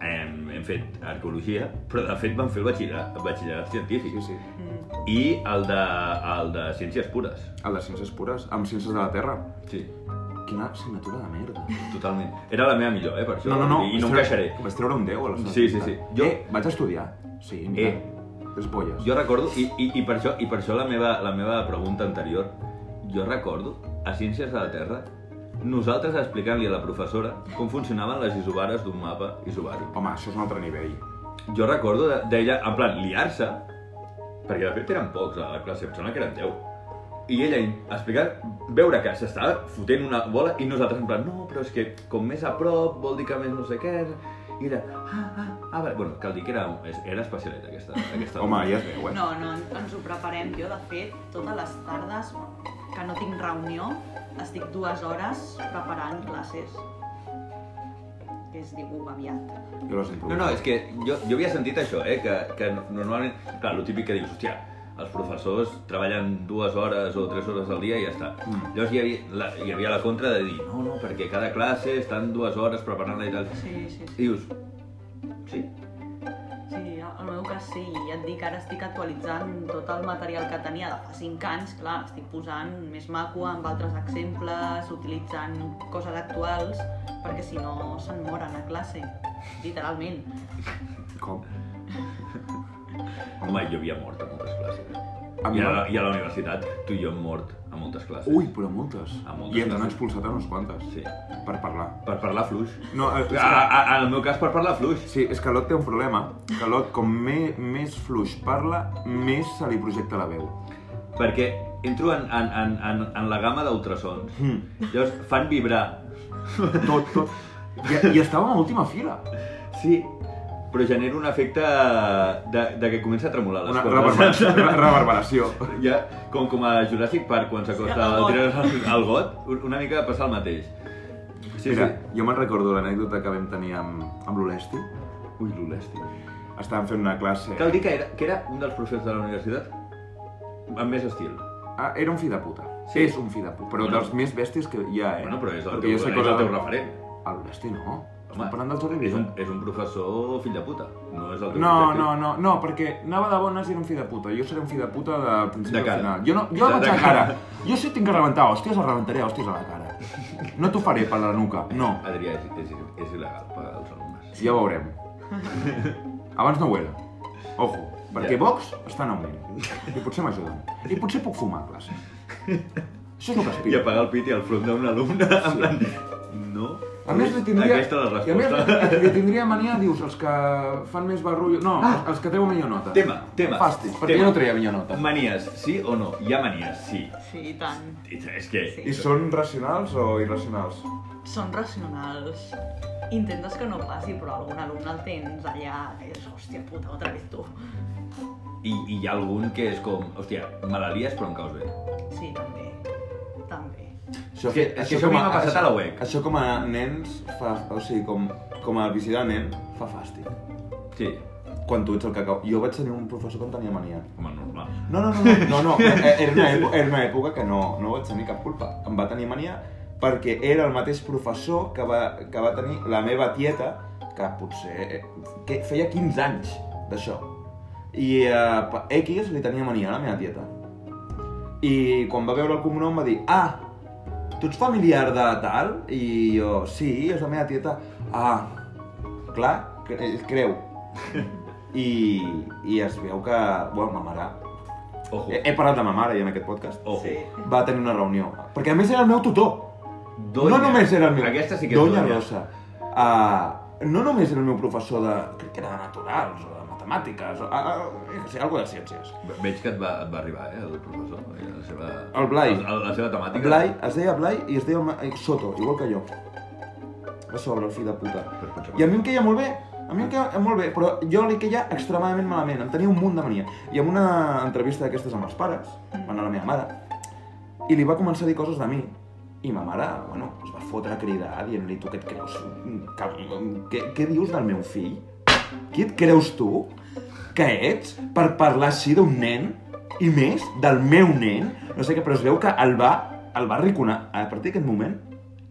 Speaker 1: hem, hem fet arqueologia, però de fet vam fer el batxillerat, batxillerat científic.
Speaker 2: Sí, sí.
Speaker 3: Mm.
Speaker 1: I el de, el de ciències pures.
Speaker 2: El de ciències pures, amb ciències de la Terra.
Speaker 1: Sí,
Speaker 2: Quina assignatura de merda.
Speaker 1: totalment. Era la meva millor, eh, per això.
Speaker 2: No, no, no.
Speaker 1: I no
Speaker 2: vaig
Speaker 1: em queixaré.
Speaker 2: treure- Vaig treure un 10 a la
Speaker 1: Sí, sí, sí.
Speaker 2: Jo...
Speaker 1: Jo-
Speaker 2: Eh, vaig estudiar. Sí, mira.
Speaker 1: Eh.
Speaker 2: Eh. Les polles.
Speaker 1: Jo recordo, i, i, i, per, això, i per això la meva, la meva pregunta anterior, jo recordo, a Ciències de la Terra, nosaltres explicant-li a la professora com funcionaven les isobares d'un mapa isobàric.
Speaker 2: Home, això és un altre nivell.
Speaker 1: Jo recordo de- d'ella, en plan, liar-se, perquè de fet eren pocs a la classe, em sembla que eren 10. I ella explicant, veure que s'estava fotent una bola i nosaltres en plan, no, però és que com més a prop vol dir que més no sé què... I era, ah, ah, ah, vale. Bueno, cal dir que era, era especialeta aquesta. aquesta
Speaker 2: Home, ja es veu, eh?
Speaker 3: No, no, ens ho preparem. Jo, de fet, totes les tardes que no tinc reunió, estic dues hores preparant classes. Que es diu aviat.
Speaker 2: Jo les improviso.
Speaker 1: No, no, és que jo, jo havia sentit això, eh? Que, que normalment... Clar, el típic que dius, hòstia, els professors treballen dues hores o tres hores al dia i ja està.
Speaker 2: Mm.
Speaker 1: Llavors hi havia, la, hi havia la contra de dir, no, no, perquè cada classe estan dues hores preparant-la i tal.
Speaker 3: Sí, sí,
Speaker 1: I
Speaker 3: sí.
Speaker 1: dius, sí,
Speaker 3: Sí, el meu cas sí. I et dic, ara estic actualitzant tot el material que tenia de fa 5 anys. Clar, estic posant més maco amb altres exemples, utilitzant coses actuals, perquè si no se'n moren a classe. Literalment.
Speaker 2: Com?
Speaker 1: home, jo havia mort a moltes classes.
Speaker 2: A mi
Speaker 1: I a, la,
Speaker 2: no.
Speaker 1: I a la universitat, tu i jo hem mort a moltes classes.
Speaker 2: Ui, però moltes.
Speaker 1: A Ah, moltes
Speaker 2: I ens han
Speaker 1: classes.
Speaker 2: expulsat a unes quantes.
Speaker 1: Sí, Ah!
Speaker 2: Per parlar.
Speaker 1: per parlar fluix.
Speaker 2: No, eh, és
Speaker 1: A,
Speaker 2: que,
Speaker 1: a, a- en el meu cas, per parlar fluix.
Speaker 2: sí, és que l'Ot té un problema. Que l'Ot, com me, més fluix parla, més se li projecta la veu.
Speaker 1: Perquè entro en, en, en, en, en la gamma d'ultrasons.
Speaker 2: Mm.
Speaker 1: Llavors fan vibrar
Speaker 2: Tot, tot. I, i estàvem a última fila.
Speaker 1: Sí, però genera un efecte de, de que comença a tremolar les
Speaker 2: Una
Speaker 1: cordes.
Speaker 2: reverberació. re- reverberació.
Speaker 1: Ja, com, com a Jurassic Park, quan s'acosta
Speaker 3: Sí, al
Speaker 1: al
Speaker 3: got.
Speaker 1: tirant al got, un- una mica passa el mateix. Sí,
Speaker 2: Mira,
Speaker 1: sí.
Speaker 2: jo me'n recordo l'anècdota que vam tenir amb, amb l'Olesti.
Speaker 1: Ui, l'Olesti.
Speaker 2: Estàvem fent una classe...
Speaker 1: Cal dir que era, que era un dels professors de la universitat amb més estil.
Speaker 2: Ah, era un fill de puta.
Speaker 1: Sí.
Speaker 2: És un fill de puta, però
Speaker 1: Bueno.
Speaker 2: dels més bèsties que hi ha, eh?
Speaker 1: Bueno, però és el,
Speaker 2: Perquè
Speaker 1: teu,
Speaker 2: jo sé
Speaker 1: és
Speaker 2: cosa
Speaker 1: el teu
Speaker 2: de-
Speaker 1: referent.
Speaker 2: A l'Olesti no.
Speaker 1: Home,
Speaker 2: Estem parlant dels
Speaker 1: És
Speaker 2: Oregon.
Speaker 1: un, és un professor fill de puta, no és el teu
Speaker 2: No,
Speaker 1: objectiu.
Speaker 2: no, no, no, perquè anava de bones i era un fill de puta. Jo seré un fill de puta de principi
Speaker 1: De
Speaker 2: al
Speaker 1: cara.
Speaker 2: final. Jo, no, jo
Speaker 1: De-
Speaker 2: vaig
Speaker 1: de
Speaker 2: a cara.
Speaker 1: cara.
Speaker 2: Jo si tinc que rebentar hòsties, les rebentaré a hòsties a la cara. No t'ho faré per la nuca, no.
Speaker 1: Adrià, és, és, és il·legal pagar els alumnes.
Speaker 2: Ja veurem. Abans no ho era. Ojo, perquè
Speaker 1: Ja.
Speaker 2: Vox està en augment. I potser m'ajuden. I potser puc fumar a classe. Això és el que
Speaker 1: I
Speaker 2: aspiro.
Speaker 1: apagar el pit i al front d'un alumne, en plan, no,
Speaker 2: A més, li tindria...
Speaker 1: aquesta la
Speaker 2: I a més,
Speaker 1: resposta.
Speaker 2: li, li tindria mania, dius, els que fan més barrullo... No,
Speaker 1: Ah!
Speaker 2: els que treuen millor nota.
Speaker 1: Tema, tema.
Speaker 2: Fàstic, perquè
Speaker 1: Tema.
Speaker 2: jo no treia millor nota.
Speaker 1: Manies, sí o no? Hi ha manies, sí.
Speaker 3: Sí, i tant.
Speaker 1: És que...
Speaker 3: Sí.
Speaker 2: I són racionals o irracionals?
Speaker 3: Són racionals. Intentes que no passi, però algun alumne el tens allà que dius, hòstia puta, otra vez tu.
Speaker 1: I, I hi ha algun que és com, hòstia, me la lies però em caus bé.
Speaker 3: Sí, també. També.
Speaker 2: Això,
Speaker 1: Que- que això a mi m'ha passat a la UEC.
Speaker 2: Això com a nens fa... O sigui, com, com a visitar nen fa fàstic.
Speaker 1: Sí,
Speaker 2: Quan tu ets el cacau. Jo vaig tenir un professor que en tenia mania.
Speaker 1: home, normal.
Speaker 2: No, no, no, no, no, no. eh, era, una època, era una època que no, no vaig tenir cap culpa. Em va tenir mania perquè era el mateix professor que va, que va tenir la meva tieta, que potser... eh, que feia 15 anys d'això. I eh, per X li tenia mania a la meva tieta. I quan va veure el cognom va dir Ah, tu ets familiar de tal? I jo, sí, és la meva tieta. Ah, clar, cre ell creu. I, I es veu que, bueno, ma mare...
Speaker 1: Ojo,
Speaker 2: He, he parlat de ma mare ja en aquest podcast.
Speaker 1: ojo.
Speaker 3: Eh, Sí.
Speaker 2: Va tenir una reunió. Perquè a més era el meu tutor.
Speaker 1: Doña.
Speaker 2: No només era el meu.
Speaker 1: Aquesta sí que és
Speaker 2: Doña
Speaker 1: doña.
Speaker 2: Rosa. Uh, no només era el meu professor de... crec que era de naturals o de matemàtiques o... Ah, ah, jo què sé, alguna de ciències.
Speaker 1: Ve- Veig que et va, et va arribar, eh, el professor. eh, La seva,
Speaker 2: El Blai.
Speaker 1: La, la seva temàtica.
Speaker 2: Blai, es deia Blai i es deia el Ma- eh, Soto, igual que jo. A sobre, el fill de puta. I a mi em queia molt bé, a mi em queia molt bé, però jo li queia extremadament malament, em tenia un munt de mania. I en una entrevista d'aquestes amb els pares, va anar la meva mare, i li va començar a dir coses de mi. I ma mare, bueno, es va fotre a cridar dient-li, tu què et creus? Que, què, què dius del meu fill? Qui et creus tu que ets per parlar així d'un nen? I més, del meu nen? No sé què, però es veu que el va, el va arraconar. A partir d'aquest moment,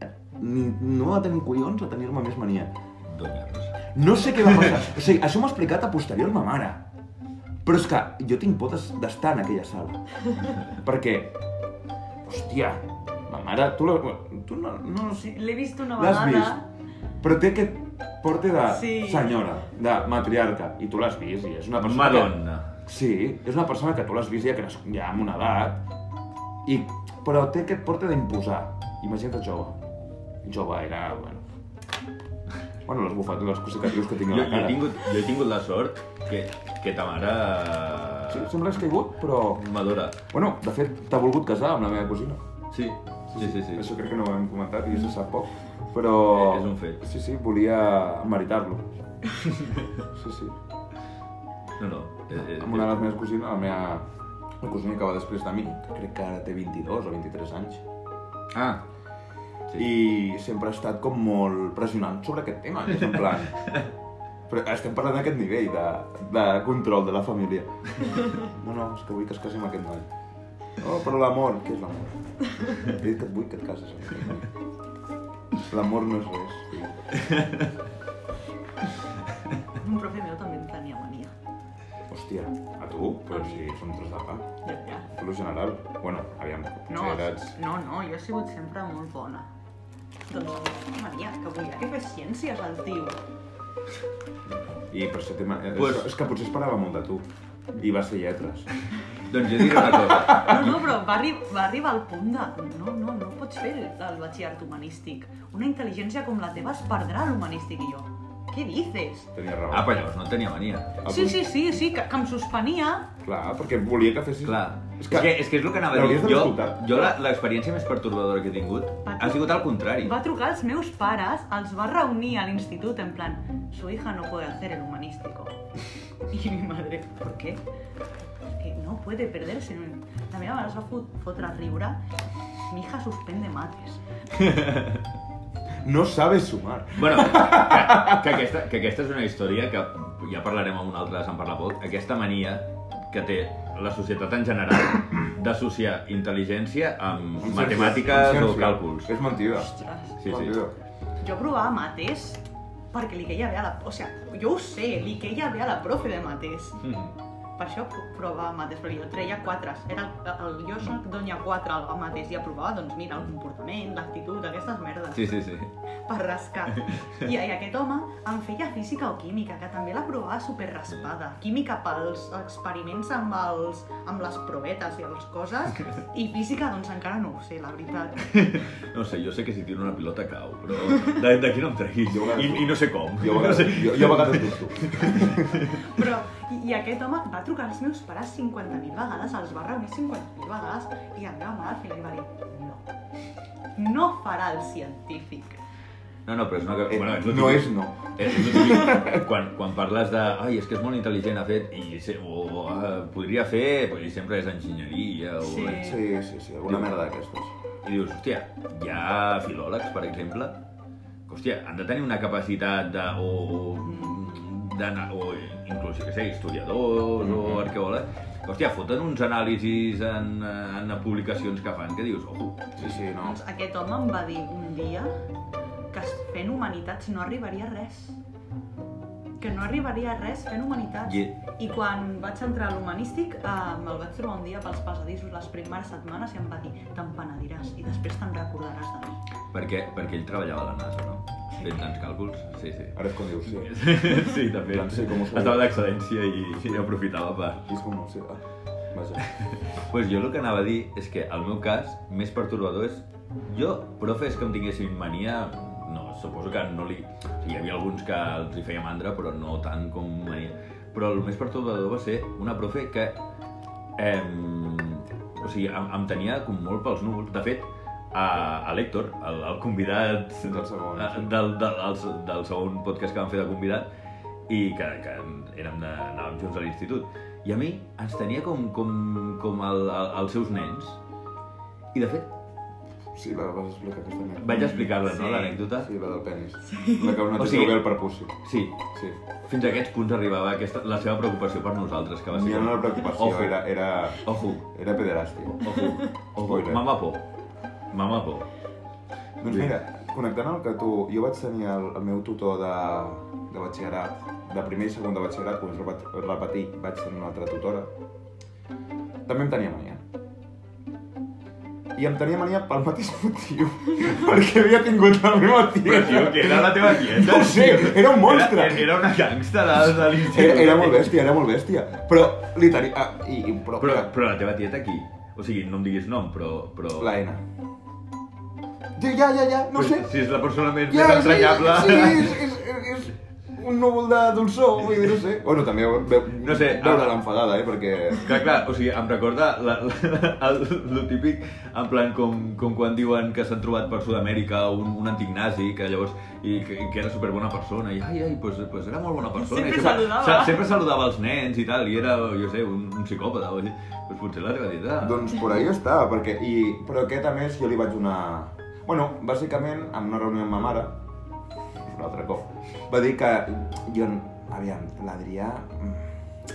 Speaker 2: eh, ni, no va tenir collons a tenir-me més mania.
Speaker 1: Dos metres.
Speaker 2: No sé què va passar. O sigui, això m'ho ha explicat a posterior ma mare. Però és que jo tinc por d'es- d'estar en aquella sala. Perquè, hòstia, ma mare, tu, la, tu no, no
Speaker 3: Sí, L'he vist una
Speaker 2: l'has
Speaker 3: vegada.
Speaker 2: vist, però té aquest porte de
Speaker 3: Sí.
Speaker 2: senyora, de matriarca, i tu l'has vist, i és una persona
Speaker 1: Madonna.
Speaker 2: que... Sí, és una persona que tu l'has vist ja, cres... ja amb una edat, i... però té aquest porte d'imposar. Imagina't jove. Jove era, bueno... Bueno, les bufetades, les cosicatrius que tinc a
Speaker 1: Jo,
Speaker 2: la
Speaker 1: jo, he
Speaker 2: cara.
Speaker 1: tingut, jo he tingut la sort que, que ta mare...
Speaker 2: Sí, sempre has caigut, però...
Speaker 1: Madura.
Speaker 2: Bueno, de fet, t'ha volgut casar amb la meva cosina.
Speaker 1: Sí, sí, sí. sí.
Speaker 2: Això crec que no ho hem comentat i se sap poc, però...
Speaker 1: Eh, és un fet.
Speaker 2: Sí, sí, volia meritar-lo. Sí, sí.
Speaker 1: No, no. Eh, eh,
Speaker 2: Amb una de les meves cosines, la meva la cosina que va després de mi, que crec que ara té 22 o 23 anys,
Speaker 1: Ah. Sí.
Speaker 2: i sempre ha estat com molt pressionant sobre aquest tema, que és en plan... Però estem parlant d'aquest nivell de, de control de la família. No, no, és que vull que es casi amb aquest noi. Oh, però l'amor, què és l'amor? He dit que et vull que et cases amb aquest noi. L'amor no és res. fill.
Speaker 3: Un profe meu també en tenia mania.
Speaker 2: Hòstia, a tu? Però si som tres de pa.
Speaker 3: Ja, ja.
Speaker 2: Per lo general, bueno, aviam,
Speaker 3: No,
Speaker 2: potser eres...
Speaker 3: no, no, jo he sigut sempre molt bona. Doncs, Maria, que volia que fes ciències el tio.
Speaker 2: I per això té... ma- eh,
Speaker 1: Pues-
Speaker 2: És que potser esperava molt de tu. I va ser lletres.
Speaker 1: Doncs jo diré una cosa.
Speaker 3: No, no, però va, arri va arribar al punt de... No, no, no pots fer el, el batxillerat humanístic. Una intel·ligència com la teva es perdrà a l'humanístic i jo. Què dices?
Speaker 2: Tenia raó. Ah,
Speaker 1: Ah, però llavors no tenia mania.
Speaker 3: Sí, sí, sí, sí, que, que em suspenia
Speaker 2: Clar, perquè volia que fessis...
Speaker 1: Clar.
Speaker 2: És
Speaker 1: És
Speaker 2: que-
Speaker 1: que, és que és, que és el que anava a dir.
Speaker 2: L'hauries d'haver
Speaker 1: Jo,
Speaker 2: escoltat.
Speaker 1: jo la- l'experiència més pertorbadora que he tingut ha sigut al contrari.
Speaker 3: Va trucar als meus pares, els va reunir a l'institut en plan su hija no puede hacer el humanístico. I mi madre, ¿por qué? Es que no puede perderse. en un-". La meva mare es va fot fotre a riure. Mi hija suspende mates.
Speaker 2: No sabes sumar.
Speaker 1: Bueno, que, que, aquesta, que aquesta és una història que ja parlarem amb un altre de Sant Parla Poc. Aquesta mania que té la societat en general d'associar intel·ligència amb
Speaker 2: Amb
Speaker 1: matemàtiques
Speaker 2: ciències,
Speaker 1: o
Speaker 2: amb ciències.
Speaker 1: càlculs.
Speaker 2: És mentida.
Speaker 3: Ostres.
Speaker 1: Sí, sí.
Speaker 2: Mentida.
Speaker 3: Jo provava mates perquè li queia bé a la... O sea, jo ho sé, li queia bé a la profe de mates.
Speaker 1: Mm.
Speaker 3: Per això pro- provava mates, però jo treia quatres. Era el, el, jo soc doña quatre al mates i aprovava, doncs mira, el comportament, l'actitud, aquestes merdes.
Speaker 1: Sí, sí, sí.
Speaker 3: per rascar. I, I aquest home em feia física o química, que també la provava super raspada. Química pels experiments amb, els, amb les provetes i les coses, i física doncs encara no ho sé, la veritat.
Speaker 1: No sé, jo sé que si tiro una pilota cau, però de- d'aquí no em treguis.
Speaker 2: Jo
Speaker 1: I, I no sé com.
Speaker 2: Jo a
Speaker 1: no sé.
Speaker 2: vegades, jo, jo a vegades dubto.
Speaker 3: Però, i, i aquest home va trucar als meus pares 50.000 vegades, els va reunir 50.000 vegades, i la meva mare al final li va dir no. No farà el científic.
Speaker 1: No, no, però és una...
Speaker 2: Eh,
Speaker 1: Bueno, és lo
Speaker 2: no
Speaker 1: típic.
Speaker 2: és no.
Speaker 1: Eh, És el típic. quan, quan parles de, ai, és que és molt intel·ligent, ha fet, i, se- o, o ah, podria fer, i sempre és enginyeria, o...
Speaker 3: Sí.
Speaker 2: Sí, sí, sí, alguna merda d'aquestes.
Speaker 1: I dius, hòstia, hi ha filòlegs, per exemple, que, hòstia, han de tenir una capacitat de... o, d'anar- o inclús, jo què sé, historiadors o arqueòlegs, que, hòstia, foten uns anàlisis en, eh, en publicacions que fan que dius, ojo,
Speaker 2: Sí, sí, no.
Speaker 3: Doncs aquest home em va dir un dia que fent humanitats no arribaria a res. Que no arribaria a res fent humanitats.
Speaker 1: I-
Speaker 3: I quan vaig entrar a l'humanístic, eh, me'l vaig trobar un dia pels passadissos les primeres setmanes i em va dir te'n penediràs i després te'n recordaràs de mi.
Speaker 1: perquè, perquè ell treballava a la NASA, no? Fent tants càlculs, sí, sí.
Speaker 2: Ara és quan dius sí.
Speaker 1: Sí, també.
Speaker 2: Doncs sí, com ho sabeu.
Speaker 1: Estava d'excel·lència i, i aprofitava per...
Speaker 2: I és com no ho sé. Ah, vaja.
Speaker 1: pues jo el que anava a dir és que el meu cas més pertorbador és... Jo, profes que em tinguessin mania, no, suposo que no li... O sigui, hi havia alguns que els hi feia mandra, però no tant com... a ell. Però el més pertorbador va ser una profe que... Em, o sigui, em, em tenia com molt pels núvols. De fet, a, a l'Hèctor, el, el convidat
Speaker 2: Del segon,
Speaker 1: a-
Speaker 2: sí.
Speaker 1: Eh, del, del, del, del segon podcast que vam fer de convidat, i que, que érem de, anàvem junts a l'institut. I a mi ens tenia com, com, com el, el, els seus nens. I de fet,
Speaker 2: Sí, la vas explicar aquesta anècdota.
Speaker 1: vaig explicar-la, no,
Speaker 3: Sí.
Speaker 1: l'anècdota?
Speaker 2: Mm, Sí, la del penis. Sí. La que una
Speaker 1: O
Speaker 2: teta
Speaker 1: sigui-
Speaker 2: ve al prepuci.
Speaker 1: sí.
Speaker 2: Sí.
Speaker 1: Fins a aquests punts arribava aquesta, la seva preocupació per nosaltres, que va ser
Speaker 2: Ja
Speaker 1: com...
Speaker 2: no era preocupació,
Speaker 1: Ojo.
Speaker 2: era, era,
Speaker 1: Ojo,
Speaker 2: era pederàstia.
Speaker 1: ojo, ojo,
Speaker 2: Spoiler.
Speaker 1: mama por, mama por.
Speaker 2: Doncs mira, connectant el que tu... Jo vaig tenir el, el meu tutor de, de batxillerat, de primer i segon de batxillerat, quan vaig repetir, vaig tenir una altra tutora. També em tenia mania. I em tenia mania pel mateix motiu, perquè havia tingut la meva tia.
Speaker 1: era la teva tieta?
Speaker 2: No ho sé, era un monstre.
Speaker 1: Era, era una gangsta de, de l'institut.
Speaker 2: Era, era molt bèstia, era molt bèstia. Però, literari... Ah, i, i, però,
Speaker 1: Però, però la teva tieta qui? O sigui, no em diguis nom, però... però...
Speaker 2: La N. Ja, ja, ja, ja, no ho sé.
Speaker 1: Si és la persona més,
Speaker 2: Ja,
Speaker 1: més entranyable...
Speaker 2: Sí, és, és, és, és un núvol de dolçor, vull dir, no sé. Bueno, també ve,
Speaker 1: No sé,
Speaker 2: veure
Speaker 1: ah.
Speaker 2: l'enfadada, eh, perquè...
Speaker 1: Clar, clar, o sigui, em recorda la, la, el, el típic, en plan, com, com quan diuen que s'han trobat per Sud-amèrica un, un antic nazi, que llavors, i que, que era superbona persona, i ai, ai, pues, pues era molt bona persona.
Speaker 3: Sempre
Speaker 1: i
Speaker 3: saludava.
Speaker 1: sa- Sempre saludava els nens i tal, i era, jo sé, un, un psicòpata, o així. Pues potser la teva dieta...
Speaker 2: Doncs per ahí està, perquè... I, però aquest, a més, jo li vaig donar... Bueno, bàsicament, en una reunió amb ma mare, un altre cop, va dir que jo... Aviam, l'Adrià... mm,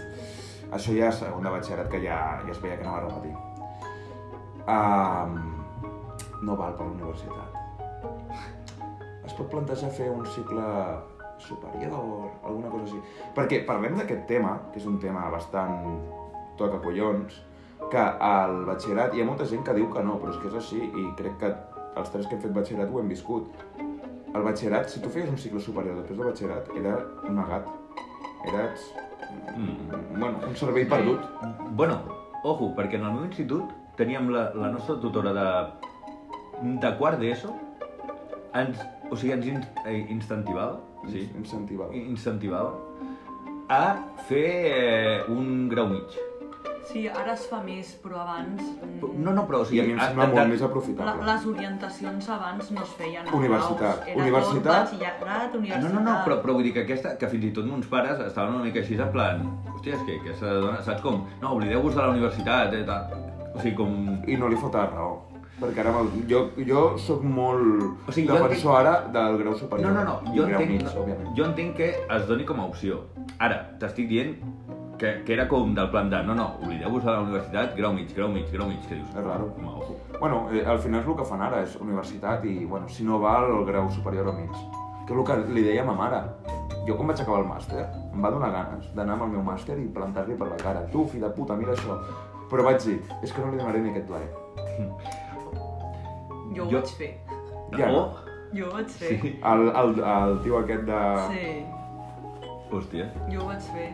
Speaker 2: Això ja és segon de batxillerat, que ja, ja es veia que anava a repetir. Um, no val per la universitat. Es pot plantejar fer un cicle superior, alguna cosa així. Perquè parlem d'aquest tema, que és un tema bastant toca collons, que al batxillerat hi ha molta gent que diu que no, però és que és així i crec que els tres que hem fet batxillerat ho hem viscut. Al batxillerat, si tu feies un cicle superior després del batxillerat, era un negat. Eres,
Speaker 1: Mm.
Speaker 2: bueno, un servei perdut.
Speaker 1: Bueno, ojo, perquè en el meu institut teníem la, la nostra tutora de, de quart d'ESO, ens, o sigui, ens in, eh, incentivava, sí,
Speaker 2: Incentivava.
Speaker 1: incentivava a fer eh, un grau mig.
Speaker 3: Sí, ara es fa més, però abans... mm,
Speaker 1: No, no, però... O
Speaker 2: I
Speaker 1: sigui,
Speaker 2: a mi em
Speaker 1: a-
Speaker 2: sembla
Speaker 1: de-
Speaker 2: molt més
Speaker 3: La,
Speaker 2: aprofitable.
Speaker 3: les orientacions abans no es feien en
Speaker 2: Universitat.
Speaker 3: graus. Era
Speaker 2: Universitat.
Speaker 3: tot batxillerat,
Speaker 1: No,
Speaker 3: universitat...
Speaker 1: no, no, però, però vull dir que aquesta, que fins i tot mons pares estaven una mica així en plan... Hòstia, és que aquesta dona, saps com? No, oblideu-vos de la universitat, eh, tal. O sigui, com...
Speaker 2: I no li fota raó. Perquè ara, me'l- jo, jo sóc molt
Speaker 1: O
Speaker 2: o
Speaker 1: sigui,
Speaker 2: sigui,
Speaker 1: jo
Speaker 2: defensor ara del grau superior.
Speaker 1: No, no, no,
Speaker 2: I
Speaker 1: jo
Speaker 2: grau
Speaker 1: entenc,
Speaker 2: mig, òbviament.
Speaker 1: jo entenc que es doni com a opció. Ara, t'estic dient que, que era com del plan de no, no, oblideu-vos de la universitat, grau mig, grau mig, grau mig, que dius...
Speaker 2: És raro.
Speaker 1: Home, ojo.
Speaker 2: Bueno, eh, al final és el que fan ara, és universitat i, bueno, si no val el grau superior o mig. Que és el que li deia a ma mare. Jo quan vaig acabar el màster, em va donar ganes d'anar amb el meu màster i plantar-li per la cara. Tu, fill de puta, mira això. Però vaig dir, és que no li donaré ni aquest plaer.
Speaker 3: Jo ho
Speaker 1: Jo-
Speaker 3: vaig fer.
Speaker 2: Ja, no.
Speaker 1: Oh,
Speaker 3: Jo ho vaig fer.
Speaker 1: sí.
Speaker 2: El, el, el tio aquest de...
Speaker 3: sí.
Speaker 1: Hòstia.
Speaker 3: Jo ho vaig fer.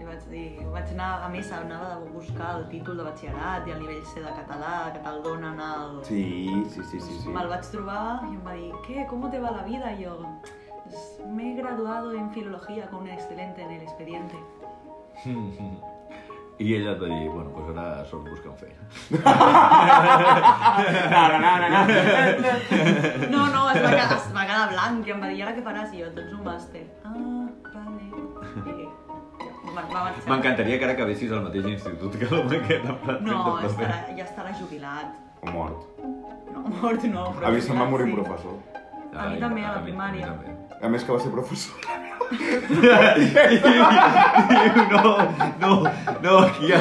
Speaker 3: I vaig dir, vaig anar a missa, anava a buscar el títol de batxillerat i el nivell C de català, que te'l donen al...
Speaker 2: Sí, sí, sí, sí. sí.
Speaker 3: Me'l vaig trobar i em va dir, què, com te va la vida? I jo, "Pues, me he graduado en filología con un excelente en el expediente.
Speaker 1: I ella et va dir, bueno, doncs ara sort buscant feina.
Speaker 2: No, no, no, no, no.
Speaker 3: No, no, es va, quedar, es va quedar blanc i em va dir, "I ara què faràs? I jo, doncs un màster. Ah, vale. I ja, va, va marxar.
Speaker 1: M'encantaria que ara acabessis al mateix institut que l'home aquest. en plan,
Speaker 3: No,
Speaker 1: de profe.
Speaker 3: estarà, ja estarà jubilat.
Speaker 2: O mort.
Speaker 3: No, mort no. Però
Speaker 2: A mi se'm va morir un
Speaker 3: jubilat,
Speaker 2: professor.
Speaker 3: a mi també, a la primària.
Speaker 1: mi també.
Speaker 2: A més que va ser professor.
Speaker 1: no, no, no, aquí Mm, ja...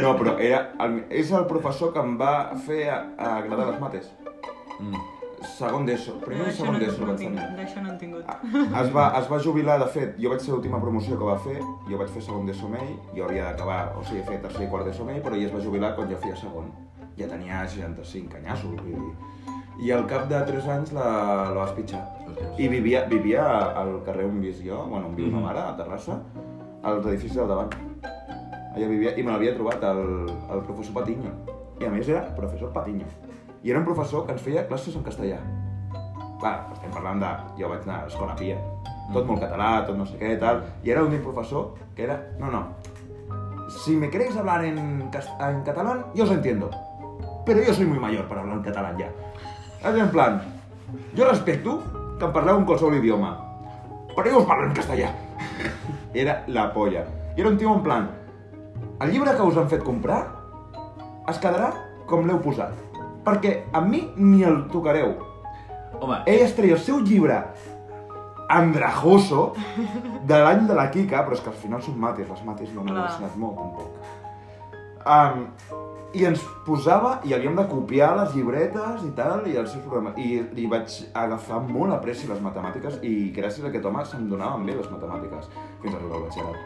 Speaker 2: No, però era el, és el professor que em va fer a, a agradar les mates.
Speaker 1: Mm.
Speaker 2: Segon d'ESO.
Speaker 3: Ah,
Speaker 2: Primer i segon d'ESO vaig tenir. Ah,
Speaker 3: D'això no en tingut.
Speaker 2: Es va, es va jubilar, de fet, jo vaig ser l'última promoció que va fer, jo vaig fer segon d'ESO amb ell, jo havia d'acabar, o sigui, fer tercer i quart d'ESO amb ell, però ell es va jubilar quan jo feia segon. Ja tenia 65 anyassos, vull dir. I al cap de 3 anys la, la vas pitjar. I vivia, vivia al carrer on vis jo, bueno, on viu ma
Speaker 1: Mhm.
Speaker 2: mare, a Terrassa, als edificis del davant. Allà vivia, i me l'havia trobat, el, el professor Patiño. I a més era professor Patiño. i era un professor que ens feia classes en castellà. Clar, estem parlant de... Jo vaig anar a l'escola pia, tot
Speaker 1: Mm.
Speaker 2: molt català, tot no sé què, tal, i era un professor que era... No, no, si me queréis hablar en, cas- en catalán, yo os entiendo, pero yo soy muy mayor para hablar en catalán ya. És en plan, jo respecto que em parleu en qualsevol idioma, però jo us parlo en castellà. Era la polla. I era un tio en plan, el llibre que us han fet comprar es quedarà com l'heu posat. Perquè a mi ni el tocareu.
Speaker 1: Home,
Speaker 2: Ell es treia el seu llibre andrajoso de l'any de la Kika, però és que al final són mates, les mates no m'han
Speaker 3: Clar.
Speaker 2: ensenyat molt, tampoc. Um, I ens posava, i havíem de copiar les llibretes i tal, i els seus programes. I li vaig agafar molt a pressi les matemàtiques, i gràcies a aquest home se'm donaven bé les matemàtiques, fins a tot el batxillerat.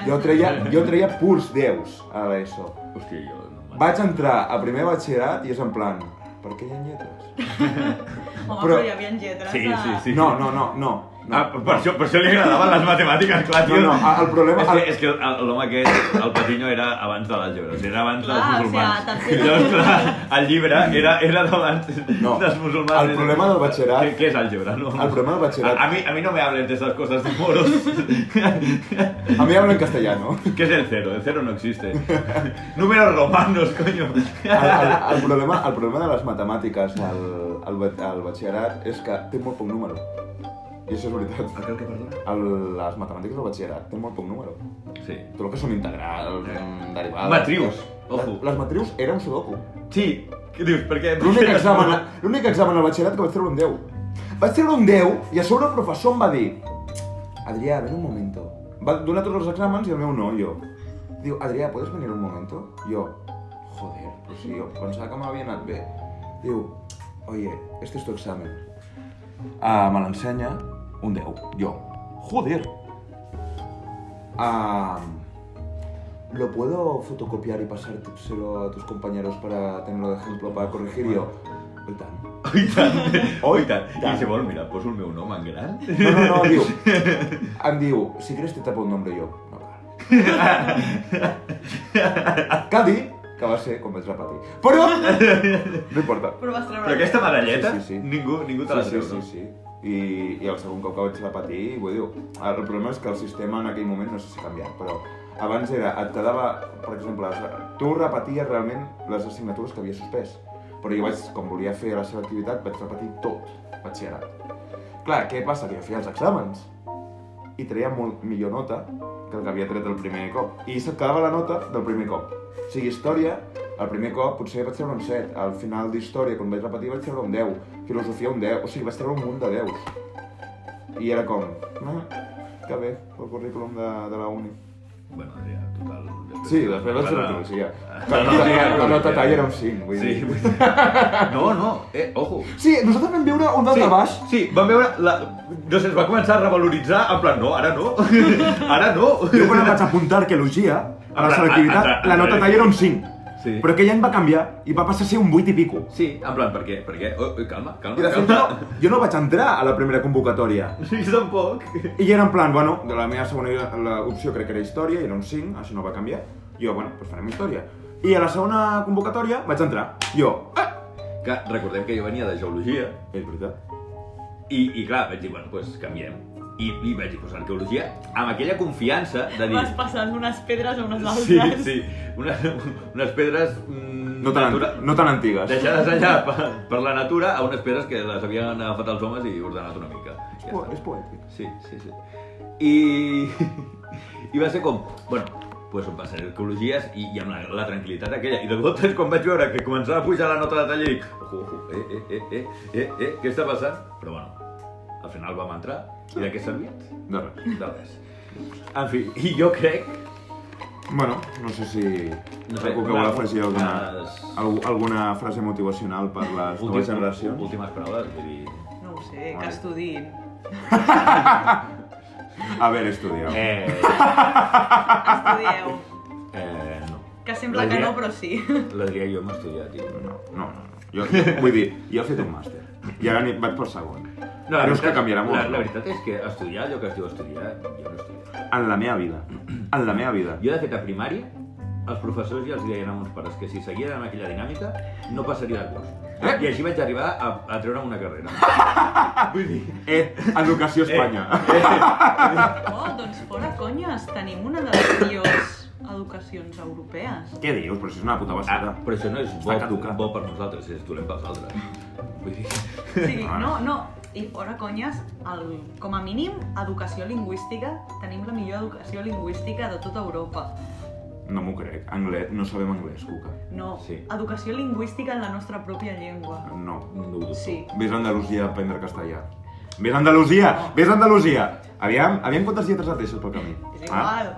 Speaker 2: Ah, Jo treia, jo treia purs 10 a l'ESO.
Speaker 1: hòstia, jo no me'n-
Speaker 2: Vaig entrar a primer batxillerat i és en plan, per què hi ha lletres?
Speaker 3: Home, però...
Speaker 2: però-
Speaker 3: hi havia lletres eh?
Speaker 1: Sí,
Speaker 3: a...
Speaker 1: sí, sí.
Speaker 2: No, no, no, no. no.
Speaker 1: Ah, per, això, per això li agradaven les matemàtiques, clar, tio.
Speaker 2: No, no, el problema-
Speaker 1: És que,
Speaker 2: el-
Speaker 1: és que el- l'home aquest, el Patiño, era abans de l'àlgebra, o sigui, era abans
Speaker 3: Clar,
Speaker 1: dels
Speaker 3: o sigui,
Speaker 1: musulmans.
Speaker 3: tercer-
Speaker 1: Llavors, clar, el llibre era, era d'abans
Speaker 2: No,
Speaker 1: dels musulmans.
Speaker 2: el problema del batxillerat-
Speaker 1: Què, què és àlgebra, no?
Speaker 2: El problema del batxillerat-
Speaker 1: A, a, mi, a mi no me hables de esas cosas de moros. ah.
Speaker 2: A mi hablo en castellano.
Speaker 1: ¿Qué es el cero? El cero no existe. Números romanos, coño.
Speaker 2: el, el, el, problema, el problema de les matemàtiques al, al, ba- al batxillerat és que té molt poc número. I això és veritat.
Speaker 1: Aquel que perdona?
Speaker 2: El, les matemàtiques del batxillerat té molt poc número.
Speaker 1: Sí.
Speaker 2: Tot el que són integrals, mm, derivades...
Speaker 1: Eh, Matrius,
Speaker 2: Les,
Speaker 1: ojo.
Speaker 2: les matrius era un sudoku.
Speaker 1: Sí, què dius? Per què?
Speaker 2: L'únic examen, l'únic examen al batxillerat que vaig treure un 10. Vaig treure un 10 i a sobre el professor em va dir Adrià, ven un momento. Va donar tots els exàmens i el meu no, jo. Diu, Adrià, ¿puedes venir un momento? Jo, joder, pues sí, jo pensava que m'havia anat bé. Diu, oye, este es tu examen. Ah, me l'ensenya un 10. Jo, joder. Ah, ¿Lo puedo fotocopiar y pasárselo a tus compañeros para tenerlo de ejemplo, para corregir? I jo, oi tant.
Speaker 1: Oi tant, oi tant.
Speaker 2: tant.
Speaker 1: I si vol, mira, poso el meu nom en gran.
Speaker 2: No, no, no, diu. Em diu, si creus te tapo un nombre jo. No cal. Cal dir que va ser com vaig repetir. Però, no importa.
Speaker 3: Però vas treure...
Speaker 1: Però aquesta medalleta,
Speaker 2: Sí, sí, sí.
Speaker 1: ningú, ningú te
Speaker 2: Sí,
Speaker 1: la
Speaker 2: sí,
Speaker 1: treu,
Speaker 2: sí, sí. I, I el segon cop que vaig repetir, vull dir, el problema és que el sistema en aquell moment no sé si ha canviat, però abans era, et quedava, per exemple, les- tu repeties realment les assignatures que havies suspès, però jo vaig, com volia fer la seva activitat, vaig repetir tot, batxillerat. Clar, què passa? Que jo feia els exàmens i treia molt millor nota que el que havia tret el primer cop. I se't quedava la nota del primer cop. O sigui, història, el primer cop potser vaig treure un 7, al final d'història, quan vaig repetir, vaig treure un 10, filosofia un 10, o sigui, vaig treure un munt de 10. I era com, ah, que bé, el currículum de, de la uni.
Speaker 1: no? Bueno, ja, total...
Speaker 2: Sí, després vaig fer la
Speaker 1: Bueno,
Speaker 2: filosofia.
Speaker 1: Clar,
Speaker 2: Però
Speaker 1: no,
Speaker 2: no tenia,
Speaker 1: no, no,
Speaker 2: la
Speaker 1: no,
Speaker 2: nota
Speaker 1: no.
Speaker 2: tall era un 5, vull
Speaker 1: Sí,
Speaker 2: dir.
Speaker 1: vull dir- No, no, eh, ojo.
Speaker 2: Sí, nosaltres vam viure
Speaker 1: sí,
Speaker 2: un daltabaix.
Speaker 1: Sí, vam veure... La... No sé, es va començar a revaloritzar, en plan, no, ara no, ara no.
Speaker 2: Jo quan em vaig apuntar a arqueologia, a la
Speaker 1: Ara,
Speaker 2: selectivitat,
Speaker 1: ara, ara,
Speaker 2: la nota
Speaker 1: ara.
Speaker 2: tall era un 5.
Speaker 1: Sí.
Speaker 2: Però aquell any va canviar i va passar a ser un 8 i pico.
Speaker 1: Sí, en plan, per què? Per què? Oh, oh, calma, calma,
Speaker 2: I de fet,
Speaker 1: calma.
Speaker 2: jo, jo no vaig entrar a la primera convocatòria.
Speaker 1: Sí, tampoc.
Speaker 2: I era en plan, bueno, de la meva segona la opció crec que era història, i era un 5, això no va canviar. Jo, bueno, doncs farem història. I a la segona convocatòria vaig entrar. Jo, ah!
Speaker 1: Que recordem que jo venia de geologia
Speaker 2: És veritat.
Speaker 1: i, i clar, vaig dir, bueno, doncs pues, canviem. I, I vaig dir, pues, arqueologia, amb aquella confiança de dir...
Speaker 3: Vas passant d'unes pedres a unes altres.
Speaker 1: Sí, sí, unes, unes pedres... mm,
Speaker 2: No tan,
Speaker 1: natura-
Speaker 2: no tan antigues.
Speaker 1: Deixades allà per, per la natura a unes pedres que les havien agafat els homes i ordenat una mica.
Speaker 2: És, po és poètic.
Speaker 1: Sí, sí, sí. I, I va ser com, bueno, pues em passaré arqueologies i, i amb la, la tranquil·litat aquella. I de cop quan vaig veure que començava a pujar la nota de taller, dic, ojo, ojo, eh, eh, eh, eh, eh, eh, què està passant? Però bueno, al final vam entrar i de què ha servit?
Speaker 2: De res.
Speaker 1: De res. En fi, i jo crec...
Speaker 2: Bueno, no sé si
Speaker 1: No sé,
Speaker 2: algú que
Speaker 1: una-
Speaker 2: vol afegir alguna,
Speaker 1: unes-
Speaker 2: algú- alguna frase motivacional per les noves generacions.
Speaker 1: últimes paraules, vull dir...
Speaker 3: No ho sé,
Speaker 2: Vale.
Speaker 3: que estudiïn.
Speaker 2: A veure, estudieu.
Speaker 1: Eh,
Speaker 3: Estudieu.
Speaker 1: eh, no.
Speaker 3: Que sembla que no, però sí.
Speaker 1: La diria jo hem estudiat, tio.
Speaker 2: No, no, no. Jo, vull dir, jo he fet un màster. I ara ni- vaig pel segon. No,
Speaker 1: la
Speaker 2: Creus que
Speaker 1: veritat-
Speaker 2: canviarà molt?
Speaker 1: La, la veritat és que estudiar allò que es diu estudiar, jo no he estudiat.
Speaker 2: En la meva vida. En la meva vida.
Speaker 1: Jo, de fet, a primària els professors ja els deien a meus pares que si seguien amb aquella dinàmica no passaria de cos.
Speaker 2: Eh?
Speaker 1: I així vaig arribar a, a treure'm una carrera. Vull dir,
Speaker 2: Eh, Educació Espanya.
Speaker 3: Oh, doncs fora conyes, tenim una de les millors educacions europees.
Speaker 2: Què dius? Però si és una puta
Speaker 1: ah,
Speaker 2: basura.
Speaker 1: però això no és
Speaker 2: Està
Speaker 1: bo,
Speaker 2: caducat.
Speaker 1: bo per nosaltres, és dolent pels altres. Vull dir,
Speaker 3: Sí, no, no, i fora conyes, el, com a mínim, educació lingüística, tenim la millor educació lingüística de tota Europa.
Speaker 2: No m'ho crec. Anglès, no sabem anglès, Cuca.
Speaker 3: No,
Speaker 1: Sí.
Speaker 3: educació lingüística en la nostra pròpia llengua.
Speaker 2: No.
Speaker 1: no ho dubto.
Speaker 3: Sí.
Speaker 2: Ves a Andalusia a aprendre castellà. Ves a Andalusia! Ves a Andalusia! Aviam, aviam quantes lletres et deixes pel camí.
Speaker 3: És igual.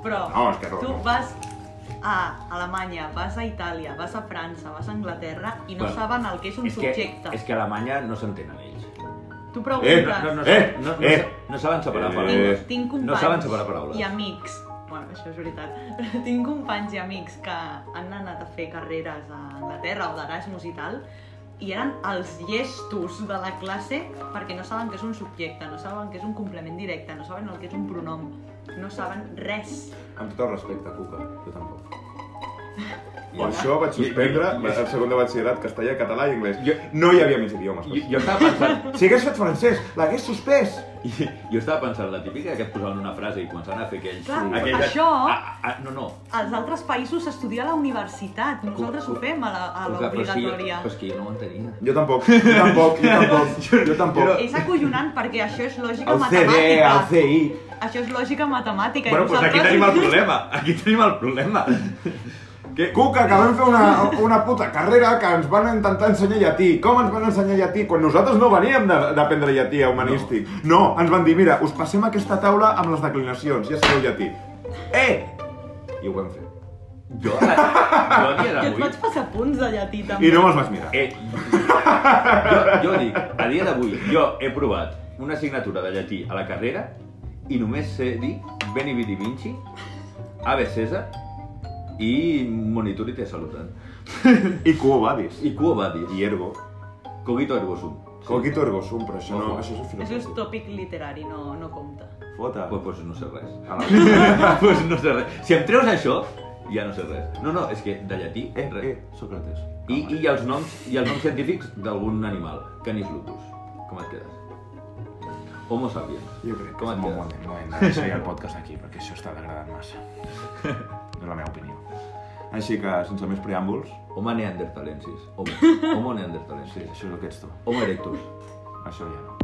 Speaker 3: Però
Speaker 2: Ah. No, és que no,
Speaker 3: tu
Speaker 2: no.
Speaker 3: vas a Alemanya, vas a Itàlia, vas a França, vas a Anglaterra i no
Speaker 1: Bueno,
Speaker 3: saben el que és un
Speaker 1: És que,
Speaker 3: subjecte.
Speaker 1: és que a Alemanya no s'entenen ells.
Speaker 3: Tu
Speaker 2: Eh,
Speaker 3: preguntes.
Speaker 1: No, no,
Speaker 2: Eh,
Speaker 1: no, no,
Speaker 2: eh.
Speaker 1: no, no saben separar
Speaker 2: Eh.
Speaker 1: paraules.
Speaker 3: Tinc, tinc companys
Speaker 1: No saben separar paraules.
Speaker 3: i amics, bueno, això és veritat, tinc companys i amics que han anat a fer carreres a Anglaterra o d'Erasmus i tal, i eren els llestos de la classe perquè no saben què és un subjecte, no saben què és un complement directe, no saben el que és un pronom, no saben res.
Speaker 2: Amb tot el respecte, Cuca. Jo tampoc.
Speaker 1: I
Speaker 2: Per això vaig suspendre el segon de batxillerat castellà, català i anglès.
Speaker 1: Jo-
Speaker 2: No hi havia més idiomes.
Speaker 1: Jo, jo estava pensant,
Speaker 2: Si hagués fet francès, l'hagués suspès!
Speaker 1: I jo estava pensant la típica que et posaven una frase i començaven a fer aquells...
Speaker 3: Clar,
Speaker 1: aquells
Speaker 3: això-
Speaker 1: A, a, no, no.
Speaker 3: Als altres països s'estudia a la universitat, nosaltres ho fem a la- a
Speaker 1: Clar, però és que jo-
Speaker 3: l'obligatòria.
Speaker 1: Però és que jo no ho entenia.
Speaker 2: Jo tampoc, jo tampoc, jo tampoc, jo tampoc.
Speaker 3: És acollonant perquè això és lògica
Speaker 2: El CD,
Speaker 3: matemàtica.
Speaker 2: el CI...
Speaker 3: Això és lògica matemàtica. i
Speaker 1: Bueno, doncs aquí
Speaker 3: nosaltres-
Speaker 1: tenim el problema. Aquí tenim el problema. Que,
Speaker 2: Cuca, que vam fer una, una puta carrera que ens van intentar ensenyar llatí. Com ens van ensenyar llatí? Quan nosaltres no veníem de- d'aprendre llatí a humanístic. No. ens van dir, mira, us passem aquesta taula amb les declinacions, ja sabeu llatí. Eh! I ho vam fer.
Speaker 1: jo, jo a dia
Speaker 3: Jo et
Speaker 1: d'avui...
Speaker 3: vaig passar punts de llatí, també.
Speaker 2: I no me'ls vaig mirar.
Speaker 1: Eh, jo, jo dic, a dia d'avui, jo he provat una assignatura de llatí a la carrera i només sé dir Beni Vidi Vinci, Ave César i Monitori te salutant.
Speaker 2: I cuo vadis.
Speaker 1: I Cuo Vadis.
Speaker 2: I ergo.
Speaker 1: Cogito ergo sum.
Speaker 2: Cogito ergo sum, però això no...
Speaker 1: Ojo.
Speaker 2: Això és un
Speaker 3: Això és
Speaker 2: filosòfic.
Speaker 3: tòpic literari, no, no compta.
Speaker 2: Fota.
Speaker 1: Ah, Pues, eh, pues no sé res.
Speaker 2: A la-
Speaker 1: pues no sé res. Si em treus això, ja no sé res. No, no, és que de llatí,
Speaker 2: Eh,
Speaker 1: res.
Speaker 2: eh, Sócrates.
Speaker 1: I, i els noms, i els noms científics d'algun animal. Canis lupus. Com et quedes? Homo sapiens.
Speaker 2: Jo crec que
Speaker 1: Com et
Speaker 2: és un bon
Speaker 1: quedes?
Speaker 2: moment, no hem de deixar ja el podcast aquí, perquè això està degradant massa. És la meva opinió. Així que, sense més preàmbuls,
Speaker 1: Home neandertalensis. Homo, Homo neandertalensis.
Speaker 2: això és el que ets tu.
Speaker 1: Homo erectus.
Speaker 2: Això ja no.